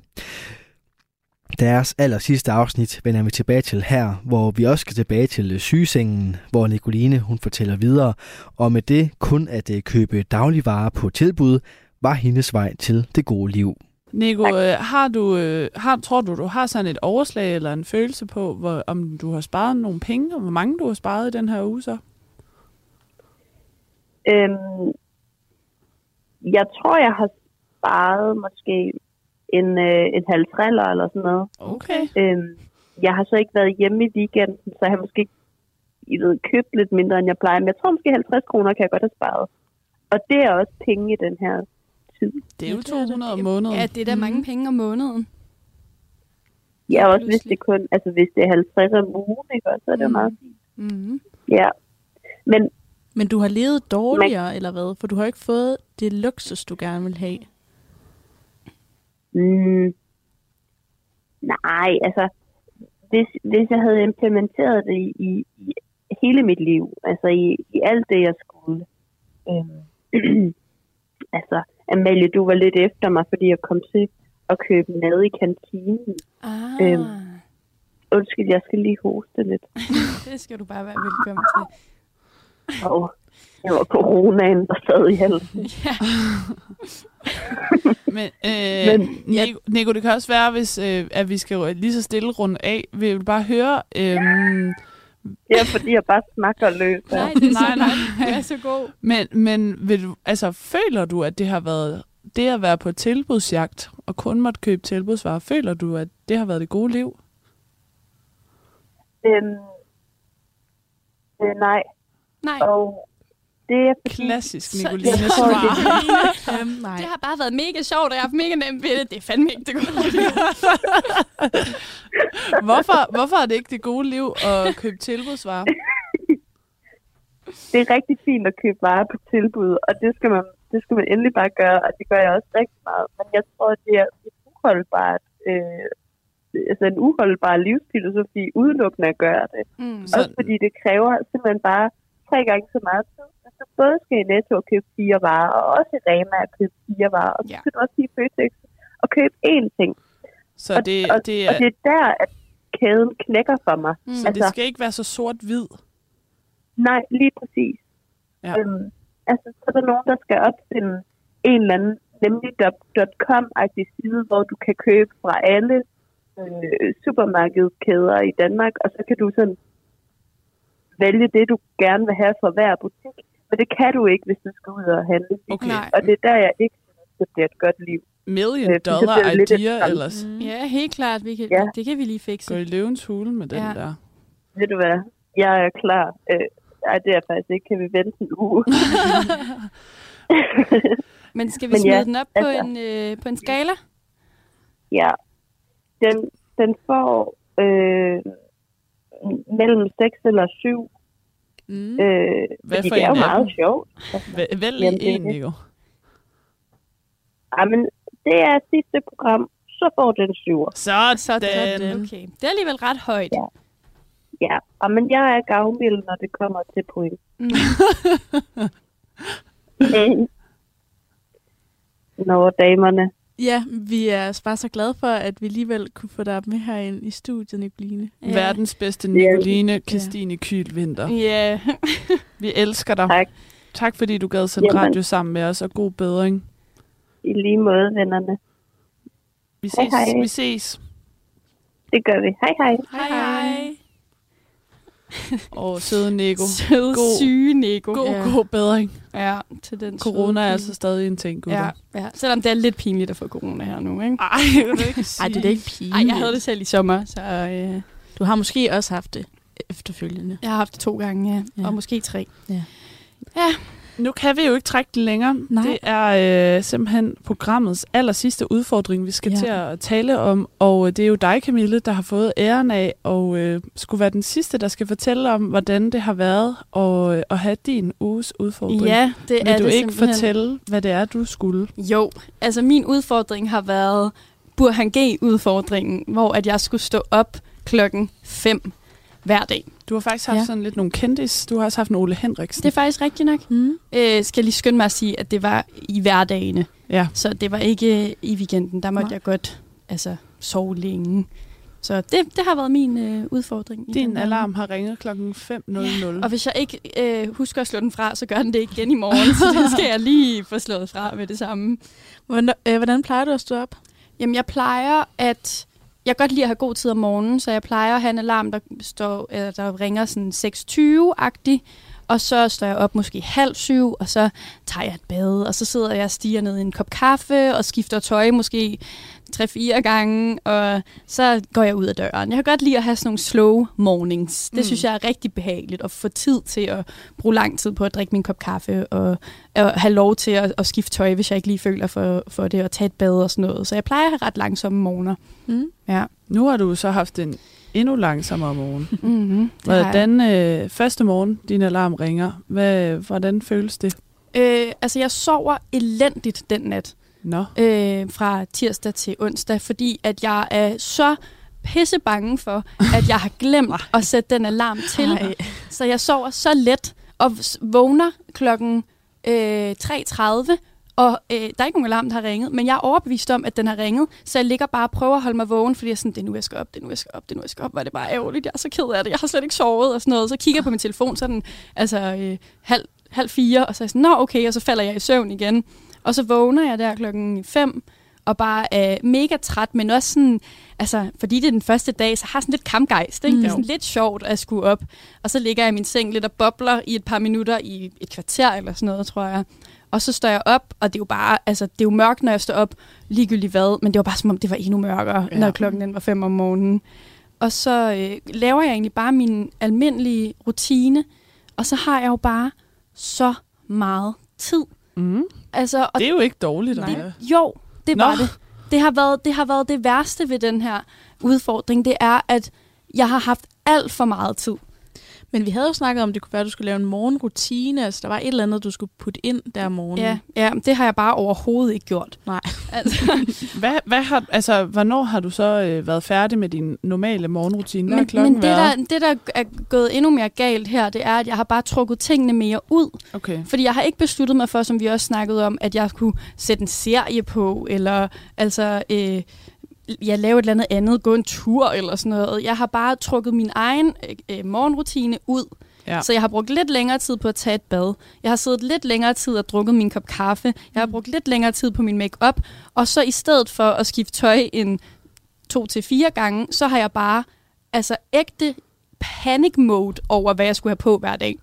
Deres aller sidste afsnit vender vi tilbage til her, hvor vi også skal tilbage til øh, sygesengen, hvor Nicoline hun fortæller videre, og med det kun at øh, købe dagligvarer på tilbud, var hendes vej til det gode liv.
Nico, øh, har du, øh, har, tror du, du har sådan et overslag eller en følelse på, hvor, om du har sparet nogle penge, og hvor mange du har sparet i den her uge så?
Øhm, jeg tror, jeg har sparet måske en, øh, en halv triller eller sådan noget.
Okay.
Øhm, jeg har så ikke været hjemme i weekenden, så jeg har måske I ved, købt lidt mindre, end jeg plejer. Men jeg tror måske 50 kroner kan jeg godt have sparet. Og det er også penge i den her tid.
Det er jo 200 om måneden.
Ja, det er da mange
Mhm.
penge om måneden.
Jeg har også, hvis det kun, altså hvis det er 50 om ugen, ikke, også, så er det jo meget fint.
Mm.
Ja. Men
Men du har levet dårligere, eller hvad? For du har ikke fået det luksus, du gerne vil have.
Mm. Nej, altså, hvis, hvis jeg havde implementeret det i, i, i hele mit liv, altså i, i alt det, jeg skulle. Øhm. altså, Amalie, du var lidt efter mig, fordi jeg kom til at købe mad i kantinen.
Ah,
Øhm. Undskyld, jeg skal lige hoste lidt.
det skal du bare være velkommen til.
Og det var coronaen, der sad i halsen.
Ja.
Men, øh,
Men-
Men Nico, Nico, det kan også være, hvis, øh, at vi skal jo lige så stille rundt af. Vi vil bare høre... Øh,
Det er, fordi jeg bare snakker løs. her.
Nej, det er
Nej,
så
nej.
godt. Det er så god.
men men vil du, altså, føler du, at det har været det at være på tilbudsjagt og kun måtte købe tilbudsvarer, føler du, at det har været det gode liv?
Øhm. Øh, nej,
Nej,
og det er fordi,
Klassisk
Så-
Nicoline
tror, det-
svar.
Øhm, nej.
det har bare været mega sjovt, og jeg har haft mega nemt ved det. Det er fandme ikke det gode.
Hvorfor, hvorfor er det ikke det gode liv at købe tilbudsvarer?
det er rigtig fint at købe varer på tilbud, og det skal man, det skal man endelig bare gøre, og det gør jeg også rigtig meget. Men jeg tror, det er et uholdbart, øh, altså en uholdbar livsfilosofi udelukkende at gøre det.
Mm.
Også fordi det kræver simpelthen bare tre gange så meget tid. Hvis du både skal i Netto og købe fire varer, og også i Rema og købe fire varer, og så
Ja.
skal du også i Føtex og købe én ting.
Så det,
og,
det,
og
er,
det er der, at kæden knækker for mig. Mm.
så det skal ikke være så sort-hvid.
Nej, lige præcis.
Ja.
Ja. Øhm, altså, så er der nogen, der skal opfinde en eller anden, nemlig .com-agtig side, hvor du kan købe fra alle øh, supermarkedskæder i Danmark, og så kan du sådan vælge det, du gerne vil have fra hver butik. Men det kan du ikke, hvis du skal ud og handle.
Okay.
Nej.
Og det er der, jeg ikke synes, det bliver et godt liv.
Million
Øh, det
dollar
bliver lidt et
idea
skam.
Mm.
ellers.
Ja, helt klart. Vi kan,
Ja.
Det kan vi lige
Gå
fikse.
i løvens hule med den
Ja.
der.
ved du hvad, jeg er klar. Øh, ej, det er jeg faktisk ikke. Kan vi vente en uge?
Men skal vi
Men
Men smide
ja,
ja, den op på,
altså-
altså. en, øh, på en skala?
ja. Den, den får øh, mellem 6 eller 7.
Mm.
Øh,
Hvad
fordi
for
det er
en
jo
af
meget
dem?
sjovt.
Væ- Vælg
Jamen, det
lige
er
en,
det.
Nico.
Jamen, det er sidste program. Så får den 7.
Sådan.
Øhm.
Sådan. Okay. Det er alligevel ret højt.
Ja. Ja, og men jeg er gavmild, når det kommer til point.
Mm.
Mm. Nå, damerne.
Ja, vi er bare så glade for, at vi alligevel kunne få dig med herind i studiet, Nicoline.
Ja.
Verdens bedste
Ja.
Nicoline Kristine Kylvinter.
Ja.
Vi elsker dig.
Tak.
Tak fordi du gad sende
Jamen.
radio sammen med os, og god bedring.
I lige måde, vennerne.
Vi
Hej,
ses.
hej.
Vi ses.
Det gør vi. Hej hej.
Hej, hej.
Åh, søde Nico.
Søde,
God-
syge Nico.
God,
ja.
god bedring.
Ja, til den søde
Corona er
pige.
altså stadig en ting, gutter.
Ja, ja, selvom det er lidt pinligt at få corona her nu, ikke?
Ej, det er ikke
Ej, det er da ikke pige.
Ej, jeg havde det selv i sommer, så øh,
Du har måske også haft det efterfølgende.
jeg har haft det to gange, ja.
Ja.
Og måske tre.
Nu kan vi jo ikke trække det længere.
Nej.
Det er øh, simpelthen programmets aller sidste udfordring, vi skal
Ja.
ja. til at tale om. Og øh, det er jo dig, Camille, der har fået æren af og øh, skulle være den sidste, der skal fortælle om, hvordan det har været at, øh, at have din uges udfordring.
Ja, det
Vil
er
du
det
ikke
simpelthen.
fortælle, hvad det er, du skulle?
Jo, altså min udfordring har været Burhan G-udfordringen, hvor at jeg skulle stå op klokken 5 hver dag.
Du har faktisk haft
Ja.
ja. sådan lidt nogle kendis. Du har også haft en Ole Henriksen.
Det er faktisk rigtigt nok.
Mm.
Øh, skal jeg lige skynde mig at sige, at det var i hverdagene.
Ja.
Så det var ikke øh, i weekenden. Der
Nej.
måtte Nej. jeg godt altså, sove længe. Så det, det har været min øh, udfordring. i den
Din
her
alarm har ringet klokken
Mm.
5.00.
Og hvis jeg ikke øh, husker at slå den fra, så gør den det igen i morgen. så det skal jeg lige få slået fra med det samme.
Hvordan, øh, hvordan plejer du at stå op?
Jamen, jeg plejer at... Jeg kan godt lide at have god tid om morgenen, så jeg plejer at have en alarm, der, står, eller der ringer sådan 6.20-agtig. Og så står jeg op måske halv syv, og så tager jeg et bad, og så sidder jeg og stiger ned i en kop kaffe, og skifter tøj måske 3-4 gange, og så går jeg ud af døren. Jeg kan godt lide at have sådan nogle slow mornings. Det mm. synes jeg er rigtig behageligt, at få tid til at bruge lang tid på at drikke min kop kaffe, og, og have lov til at, at skifte tøj, hvis jeg ikke lige føler for, for det, og tage et bad og sådan noget. Så jeg plejer at have ret langsomme morgener.
Mm.
Ja.
Nu har du så haft en endnu langsommere morgen.
Mm-hmm.
Hvordan øh, første morgen, din alarm ringer, hvad, hvordan føles det?
Øh, altså, jeg sover elendigt den nat.
Nå.
øh, fra tirsdag til onsdag, fordi at jeg er så pisse bange for, at jeg har glemt at sætte den alarm til.
Ej.
Så jeg sover så let og s- vågner klokken øh, 3.30, og øh, der er ikke nogen alarm, der har ringet, men jeg er overbevist om, at den har ringet, så jeg ligger bare og prøver at holde mig vågen, fordi jeg er sådan, det er nu, jeg skal op, det er nu, jeg skal op, det er nu, jeg skal op, hvor er det bare ærgerligt, jeg er så ked af det, jeg har slet ikke sovet og sådan noget. Så kigger jeg på min telefon, så er den altså øh, halv, halv fire, og så er jeg sådan, nå okay, og så falder jeg i søvn igen. Og så vågner jeg der klokken 5 og bare er mega træt, men også sådan, altså, fordi det er den første dag, så har jeg sådan lidt kampgejst, ikke? Mm. Det er sådan lidt sjovt at skulle op. Og så ligger jeg i min seng lidt og bobler i et par minutter, i et kvarter eller sådan noget, tror jeg. Og så står jeg op, og det er jo bare, altså, det er jo mørkt, når jeg står op, ligegyldigt hvad, men det var bare som om, det var endnu mørkere, ja. når klokken den var 5 om morgenen. Og så øh, laver jeg egentlig bare min almindelige rutine, og så har jeg jo bare så meget tid.
Mm.
Altså, og
Det er jo ikke dårligt,
det-
Aja.
Jo, det
Nå.
var det. Det har, været, det har været det værste ved den her udfordring, det er, at jeg har haft alt for meget tid.
Mm.
Men vi havde jo snakket om, at det kunne være, at du skulle lave en morgenrutine. Altså, der var et eller andet, du skulle putte ind der om morgenen.
Ja, ja det har jeg bare overhovedet ikke gjort.
Nej.
Altså,
Hvad, hvad har, altså, hvornår har du så øh, været færdig med din normale morgenrutine? Hvad har
men
klokken
men det, der,
været?
det, der er gået endnu mere galt her, det er, at jeg har bare trukket tingene mere ud.
Okay.
Fordi jeg har ikke besluttet mig for, som vi også snakkede om, at jeg kunne sætte en serie på, eller altså, øh, jeg lave et eller andet andet, gå en tur eller sådan noget. Jeg har bare trukket min egen øh, øh, morgenrutine ud.
Ja.
Ja. Så jeg har brugt lidt længere tid på at tage et bad. Jeg har siddet lidt længere tid og drukket min kop kaffe. Jeg
Mm.
har brugt lidt længere tid på min makeup. Og så i stedet for at skifte tøj en to til fire gange, så har jeg bare altså ægte panic mode over, hvad jeg skulle have på hver dag.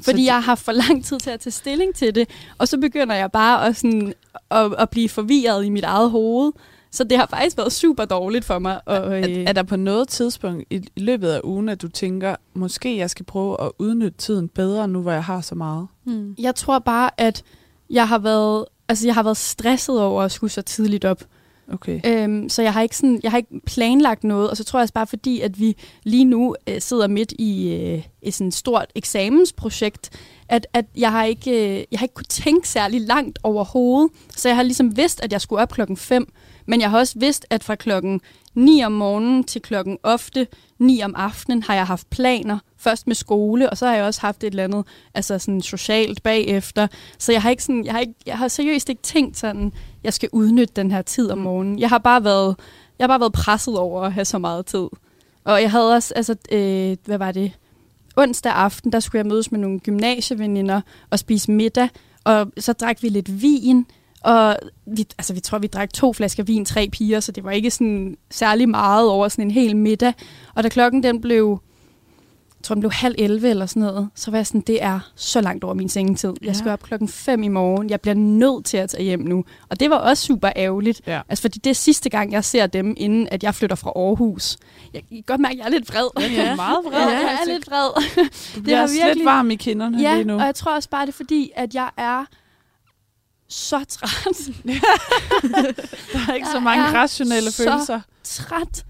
Fordi
det-
jeg har for lang tid til at tage stilling til det, og så begynder jeg bare at, sådan, at, at blive forvirret i mit eget hoved. Så det har faktisk været super dårligt for mig. Og, øh,
Er der på noget tidspunkt i i løbet af ugen, at du tænker, måske jeg skal prøve at udnytte tiden bedre, nu hvor jeg har så meget?
Mm. Jeg tror bare, at jeg har været, altså jeg har været stresset over at skulle så tidligt op.
Okay.
Øhm, så jeg har, ikke sådan, jeg har ikke planlagt noget, og så tror jeg også bare fordi, at vi lige nu øh, sidder midt i, øh, i sådan et stort eksamensprojekt, at, at jeg, har ikke, øh, jeg har ikke kunne tænke særlig langt overhovedet. Så jeg har ligesom vidst, at jeg skulle op klokken 5, men jeg har også vidst, at fra klokken 9 om morgenen til klokken ofte 9 om aftenen har jeg haft planer. Først med skole, og så har jeg også haft et eller andet altså sådan socialt bagefter. Så jeg har, ikke sådan, jeg, har ikke, jeg har seriøst ikke tænkt sådan, jeg skal udnytte den her tid om morgenen. Jeg har bare været, jeg har bare været presset over at have så meget tid. Og jeg havde også, altså, øh, hvad var det? Onsdag aften, der skulle jeg mødes med nogle gymnasieveninder og spise middag. Og så drak vi lidt vin, og vi, altså, vi tror, vi drak to flasker vin, tre piger, så det var ikke sådan særlig meget over sådan en hel middag. Og da klokken den blev, jeg tror den blev halv 11 eller sådan noget, så var jeg sådan, det er så langt over min sengetid. Jeg skal op klokken 5 i morgen. Jeg bliver nødt til at tage hjem nu. Og det var også super ærgerligt. Ja. Altså, fordi det er sidste gang, jeg ser dem, inden at jeg flytter fra Aarhus. Jeg kan godt mærke, at jeg er lidt vred.
Ja, du er meget vred.
Ja, jeg er lidt vred.
Det er virkelig... lidt varm i kinderne
ja,
lige nu.
og jeg tror også bare, det er fordi, at jeg er så træt.
Der er ikke så mange rationelle
så
følelser.
træt.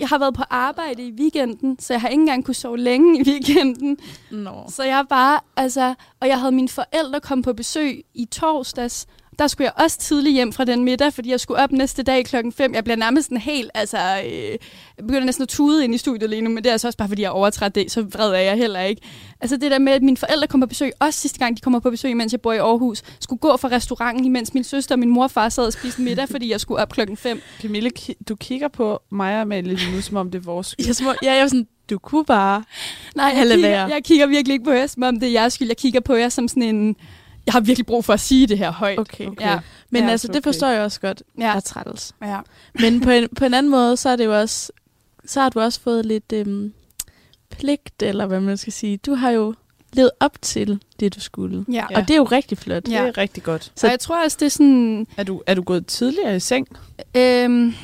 Jeg har været på arbejde i weekenden, så jeg har ikke engang kunne sove længe i weekenden.
Nå.
Så jeg er bare, altså, og jeg havde mine forældre komme på besøg i torsdags. Der skulle jeg også tidligt hjem fra den middag, fordi jeg skulle op næste dag klokken 5. Jeg bliver nærmest en helt, altså, øh, jeg begynder næsten at tude ind i studiet lige nu, men det er altså også bare, fordi jeg er overtræt det, så vred er jeg heller ikke. Altså det der med, at mine forældre kommer på besøg, også sidste gang de kommer på besøg, mens jeg bor i Aarhus, skulle gå fra restauranten, imens min søster og min mor og far sad og spiste middag, fordi jeg skulle op klokken 5.
Camille, ki- du kigger på mig og Amalie lige nu, som om det er vores skyld.
Jeg, små, ja, jeg var sådan, du kunne bare.
Nej, jeg
Eller
kigger,
være.
jeg kigger virkelig ikke på jer, som om det er jeres skyld. Jeg kigger på jer som sådan en... Jeg har virkelig brug for at sige det her højt.
Okay. okay.
Ja.
Men
Ja,
ja, altså,
okay.
det forstår jeg også godt,
Ja.
ja.
Altså,
er trættels.
ja.
Men på en, på en anden måde, så er det jo også, så har du også fået lidt øhm, pligt, eller hvad man skal sige. Du har jo levet op til det, du skulle.
ja.
Ja. Og det er jo rigtig flot.
Det
Ja.
er rigtig godt.
Så jeg tror også, det er sådan...
Er du, er du gået tidligere i seng?
Øhm,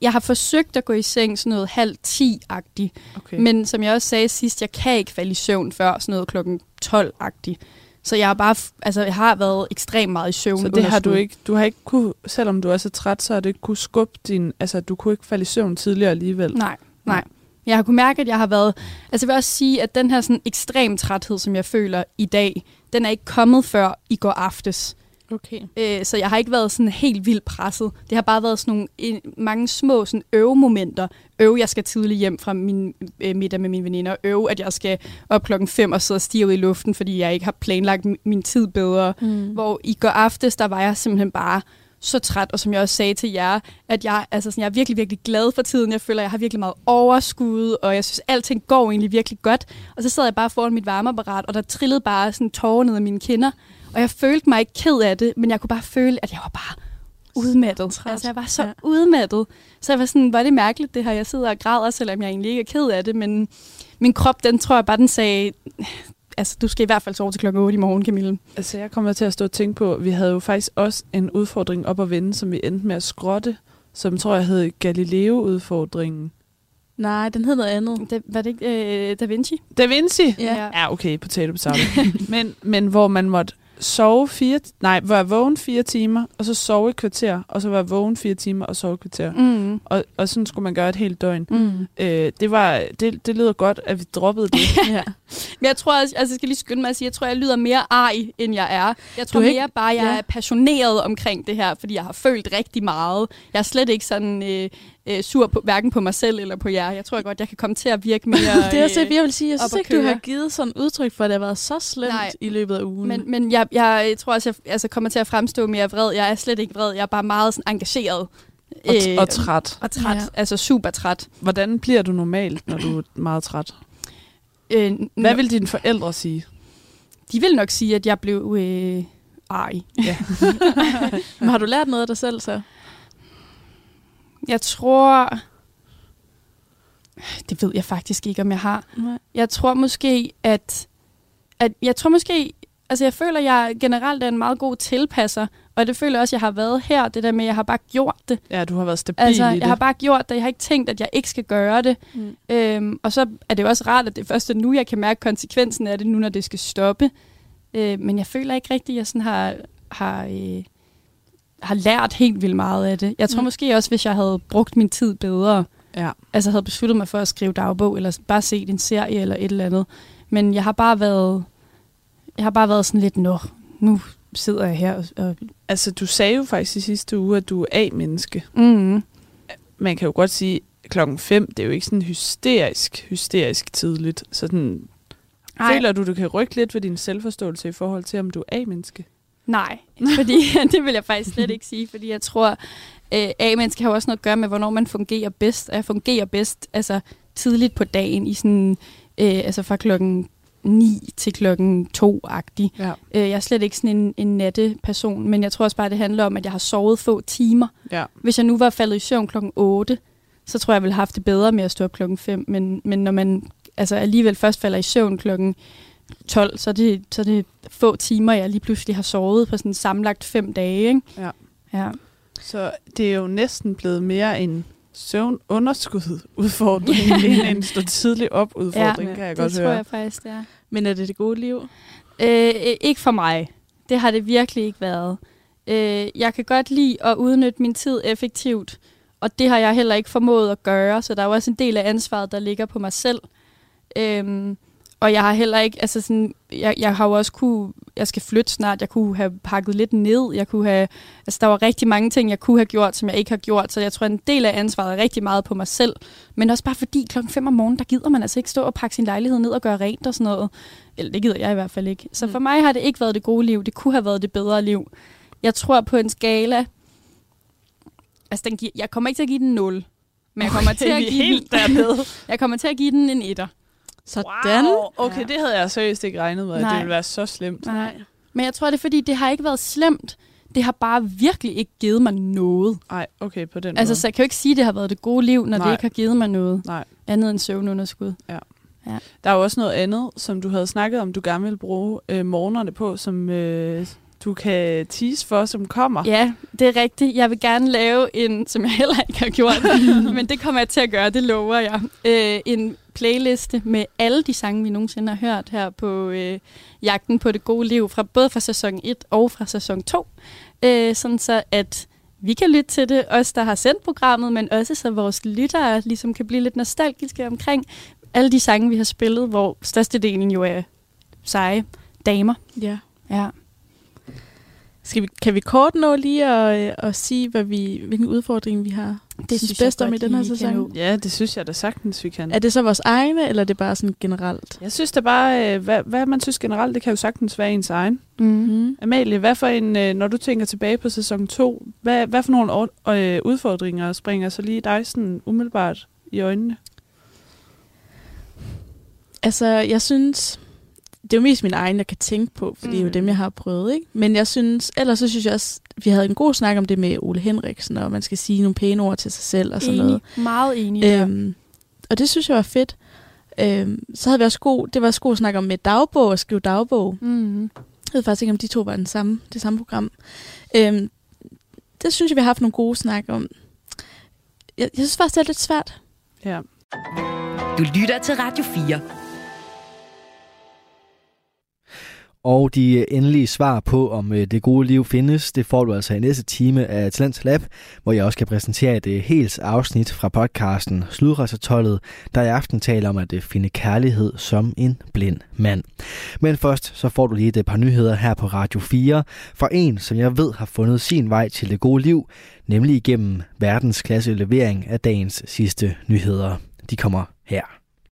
jeg har forsøgt at gå i seng sådan noget halv 10-agtigt.
Okay.
Men som jeg også sagde sidst, jeg kan ikke falde i søvn før sådan noget klokken 12-agtigt. Så jeg har bare, f- altså jeg har været ekstremt meget i søvn.
så det har du ikke, du har ikke kunne, selvom du er så træt, så har du ikke kunne skubbe din, altså du kunne ikke falde i søvn tidligere alligevel.
Nej, nej. Jeg har kunnet mærke, at jeg har været... Altså jeg vil også sige, at den her sådan ekstrem træthed, som jeg føler i dag, den er ikke kommet før i går aftes.
Okay.
Øh, så jeg har ikke været sådan helt vildt presset. Det har bare været sådan nogle en, mange små sådan øvemomenter. Øv, jeg skal tidligt hjem fra min øh, middag med mine veninder. Øv, at jeg skal op klokken 5 og sidde og stige ud i luften, fordi jeg ikke har planlagt mi- min tid bedre. Mm. Hvor i går aftes, der var jeg simpelthen bare så træt, og som jeg også sagde til jer, at jeg, altså sådan, jeg er virkelig, virkelig glad for tiden. Jeg føler, at jeg har virkelig meget overskud, og jeg synes, at alting går egentlig virkelig godt. Og så sad jeg bare foran mit varmeapparat, og der trillede bare sådan tårer ned af mine kinder. Og jeg følte mig ikke ked af det, men jeg kunne bare føle, at jeg var bare udmattet. Træt. Altså, jeg var så ja.
Ja.
udmattet. Så jeg var sådan, var det mærkeligt det her, jeg sidder og græder, selvom jeg egentlig ikke er ked af det, men min krop, den tror jeg bare, den sagde, altså, du skal i hvert fald sove til klokken 8 i morgen, Camille.
Altså jeg kommer til at stå og tænke på, vi havde jo faktisk også en udfordring op at vende, som vi endte med at skrotte, som tror jeg hed Galileo-udfordringen.
Nej, den hed noget andet.
Det, var det ikke øh, Da Vinci?
Da Vinci?
Ja.
Ja, okay, potato potato. men, men hvor man måtte sove fire, nej, være vågen fire timer, og så sove et kvarter, og så være vågen fire timer, og sove et kvarter.
Mm.
Og, og sådan skulle man gøre et helt døgn.
Mm.
Øh, det, var, det, det lyder godt, at vi droppede det.
ja.
Men jeg tror også, altså jeg skal lige skynde mig at sige, jeg tror, jeg lyder mere ej, end jeg er. Jeg tror
Du er
mere
ikke-
bare, jeg
Ja.
er passioneret omkring det her, fordi jeg har følt rigtig meget. Jeg er slet ikke sådan øh, øh, sur på, hverken på mig selv eller på jer. Jeg tror godt, jeg kan komme til at virke mere... øh,
det er også det, jeg vil sige. Jeg
op
synes
at
ikke, du
køre.
har givet sådan udtryk for, at det har været så slemt
Nej.
Nej. i løbet af ugen.
Men, men jeg, jeg tror også, jeg altså, kommer til at fremstå mere vred. Jeg er slet ikke vred. Jeg er bare meget sådan, engageret. øh,
Og, t- øh, og træt.
og træt. Ja.
Ja.
Altså super træt.
Hvordan bliver du normalt, når du er meget træt?
Øh,
Hvad vil dine forældre sige?
De vil nok sige, at jeg blev øh, ej.
men har du lært noget af dig selv så?
Jeg tror... Det ved jeg faktisk ikke, om jeg har.
Nej.
Jeg tror måske, at, at jeg tror måske, altså jeg føler, jeg generelt er en meget god tilpasser, og det føler jeg også, jeg har været her, det der med, at jeg har bare gjort det.
Ja, du har været stabil
Altså,
i det.
jeg har bare gjort det, jeg har ikke tænkt, at jeg ikke skal gøre det.
Mm.
Mm. Øhm, og så er det jo også rart, at det er først nu, jeg kan mærke konsekvensen af det, nu når det skal stoppe. Øh, men jeg føler ikke rigtigt, at jeg sådan har, har, øh, har lært helt vildt meget af det. Jeg tror mm.
Mm.
måske også, hvis jeg havde brugt min tid bedre,
ja.
altså havde besluttet mig for at skrive dagbog, eller bare set en serie eller et eller andet. Men jeg har bare været, jeg har bare været sådan lidt, nå, nu sidder jeg her. Og, og
Altså, du sagde jo faktisk i sidste uge, at du er A-menneske.
Mm.
Man kan jo godt sige, at klokken 5, det er jo ikke sådan hysterisk, hysterisk tidligt. Sådan,
Ej.
føler du, du kan rykke lidt ved din selvforståelse i forhold til, om du er A-menneske?
Nej, fordi det vil jeg faktisk slet ikke sige, fordi jeg tror, øh, A-mennesker har jo også noget at gøre med, hvornår man fungerer bedst. Og jeg fungerer bedst altså, tidligt på dagen, i sådan, øh, altså fra klokken 9 til klokken 2-agtig.
Ja.
Øh, jeg er slet ikke sådan en, en natteperson, men jeg tror også bare, det handler om, at jeg har sovet få timer.
Ja.
Hvis jeg nu var faldet i søvn klokken 8, så tror jeg, jeg ville have haft det bedre med at stå op klokken 5. Men, men når man altså, alligevel først falder i søvn klokken 12, så er, det, så er det få timer, jeg lige pludselig har sovet på sådan samlet fem dage. Ikke?
Ja.
Ja.
Så det er jo næsten blevet mere en søvnunderskud udfordring end en stå tidligt op udfordring, ja, kan jeg
det
godt
tror
høre.
jeg faktisk, det er.
Men er det det gode liv?
Øh, øh, ikke for mig. Det har det virkelig ikke været. Øh, jeg kan godt lide at udnytte min tid effektivt, og det har jeg heller ikke formået at gøre, så der er jo også en del af ansvaret, der ligger på mig selv. Øhm, og jeg har heller ikke, altså sådan, jeg, jeg har jo også kunne, jeg skal flytte snart, jeg kunne have pakket lidt ned, jeg kunne have, altså der var rigtig mange ting, jeg kunne have gjort, som jeg ikke har gjort, så jeg tror, en del af ansvaret er rigtig meget på mig selv, men også bare fordi klokken 5 om morgenen, der gider man altså ikke stå og pakke sin lejlighed ned og gøre rent og sådan noget, eller det gider jeg i hvert fald ikke.
Mm.
Så for mig har det ikke været det gode liv, det kunne have været det bedre liv. Jeg tror på en skala, altså den giver, jeg kommer ikke til at give den 0, men jeg kommer
Okay,
til at
vi er
give
helt
den,
dernede.
jeg kommer til at give den en etter.
Sådan. Wow. Okay, det havde jeg seriøst ikke regnet med, at
Nej.
det ville være så slemt.
Nej. Men jeg tror, det er fordi, det har ikke været slemt. Det har bare virkelig ikke givet mig noget.
Nej, okay, på den
Altså,
måde.
så jeg kan jo ikke sige, at det har været det gode liv, når Nej.
Nej.
det ikke har givet mig noget.
Nej.
Andet end søvnunderskud.
Ja.
ja.
Der er jo også noget andet, som du havde snakket om, du gerne vil bruge øh, morgenerne på, som øh, du kan tease for, som kommer.
Ja, det er rigtigt. Jeg vil gerne lave en, som jeg heller ikke har gjort, men det kommer jeg til at gøre, det lover jeg. Øh, en playliste med alle de sange, vi nogensinde har hørt her på øh, Jagten på det gode liv, fra både fra sæson 1 og fra sæson 2. Øh, sådan så, at vi kan lytte til det, os der har sendt programmet, men også så vores lyttere ligesom kan blive lidt nostalgiske omkring alle de sange, vi har spillet, hvor størstedelen jo er seje damer.
Ja.
Ja.
Skal vi, kan vi kort nå lige at, øh, at sige, hvad vi, hvilken udfordring vi har
Det
synes
synes jeg
bedst om i
godt,
den her
I kan
sæson?
nå.
Ja, det synes jeg da sagtens, vi kan.
Er det så vores egne, eller er det bare sådan generelt?
Jeg synes da bare, øh, hvad, hvad man synes generelt, det kan jo sagtens være ens egen.
Mm.
Mm-hmm.
Amalie, hvad for en, øh, når du tænker tilbage på sæson 2, hvad, hvad for nogle or- øh, udfordringer springer så lige dig sådan umiddelbart i øjnene?
Altså, jeg synes... Det er jo mest min egen, jeg kan tænke på, for det er jo
Mm.
dem, jeg har prøvet, ikke? Men jeg synes... Ellers så synes jeg også, vi havde en god snak om det med Ole Henriksen, og man skal sige nogle pæne ord til sig selv og sådan
enig.
noget.
Meget enig. der.
Øhm, og det synes jeg var fedt. Øhm, så havde vi også god... Det var også god snak om med dagbog og skrive dagbog.
Mm.
Jeg ved faktisk ikke, om de to var den samme, det samme program. Øhm, det synes jeg, vi har haft nogle gode snak om. Jeg, jeg synes faktisk, det er lidt svært.
Ja.
Du lytter til Radio 4.
Og de øh, endelige svar på, om øh, det gode liv findes, det får du altså i næste time af Talents Lab, hvor jeg også kan præsentere et øh, helt afsnit fra podcasten Sludrejsertollet, der i aften taler om at øh, finde kærlighed som en blind mand. Men først så får du lige et øh, par nyheder her på Radio 4 fra en, som jeg ved har fundet sin vej til det gode liv, nemlig igennem verdensklasse levering af dagens sidste nyheder. De kommer her.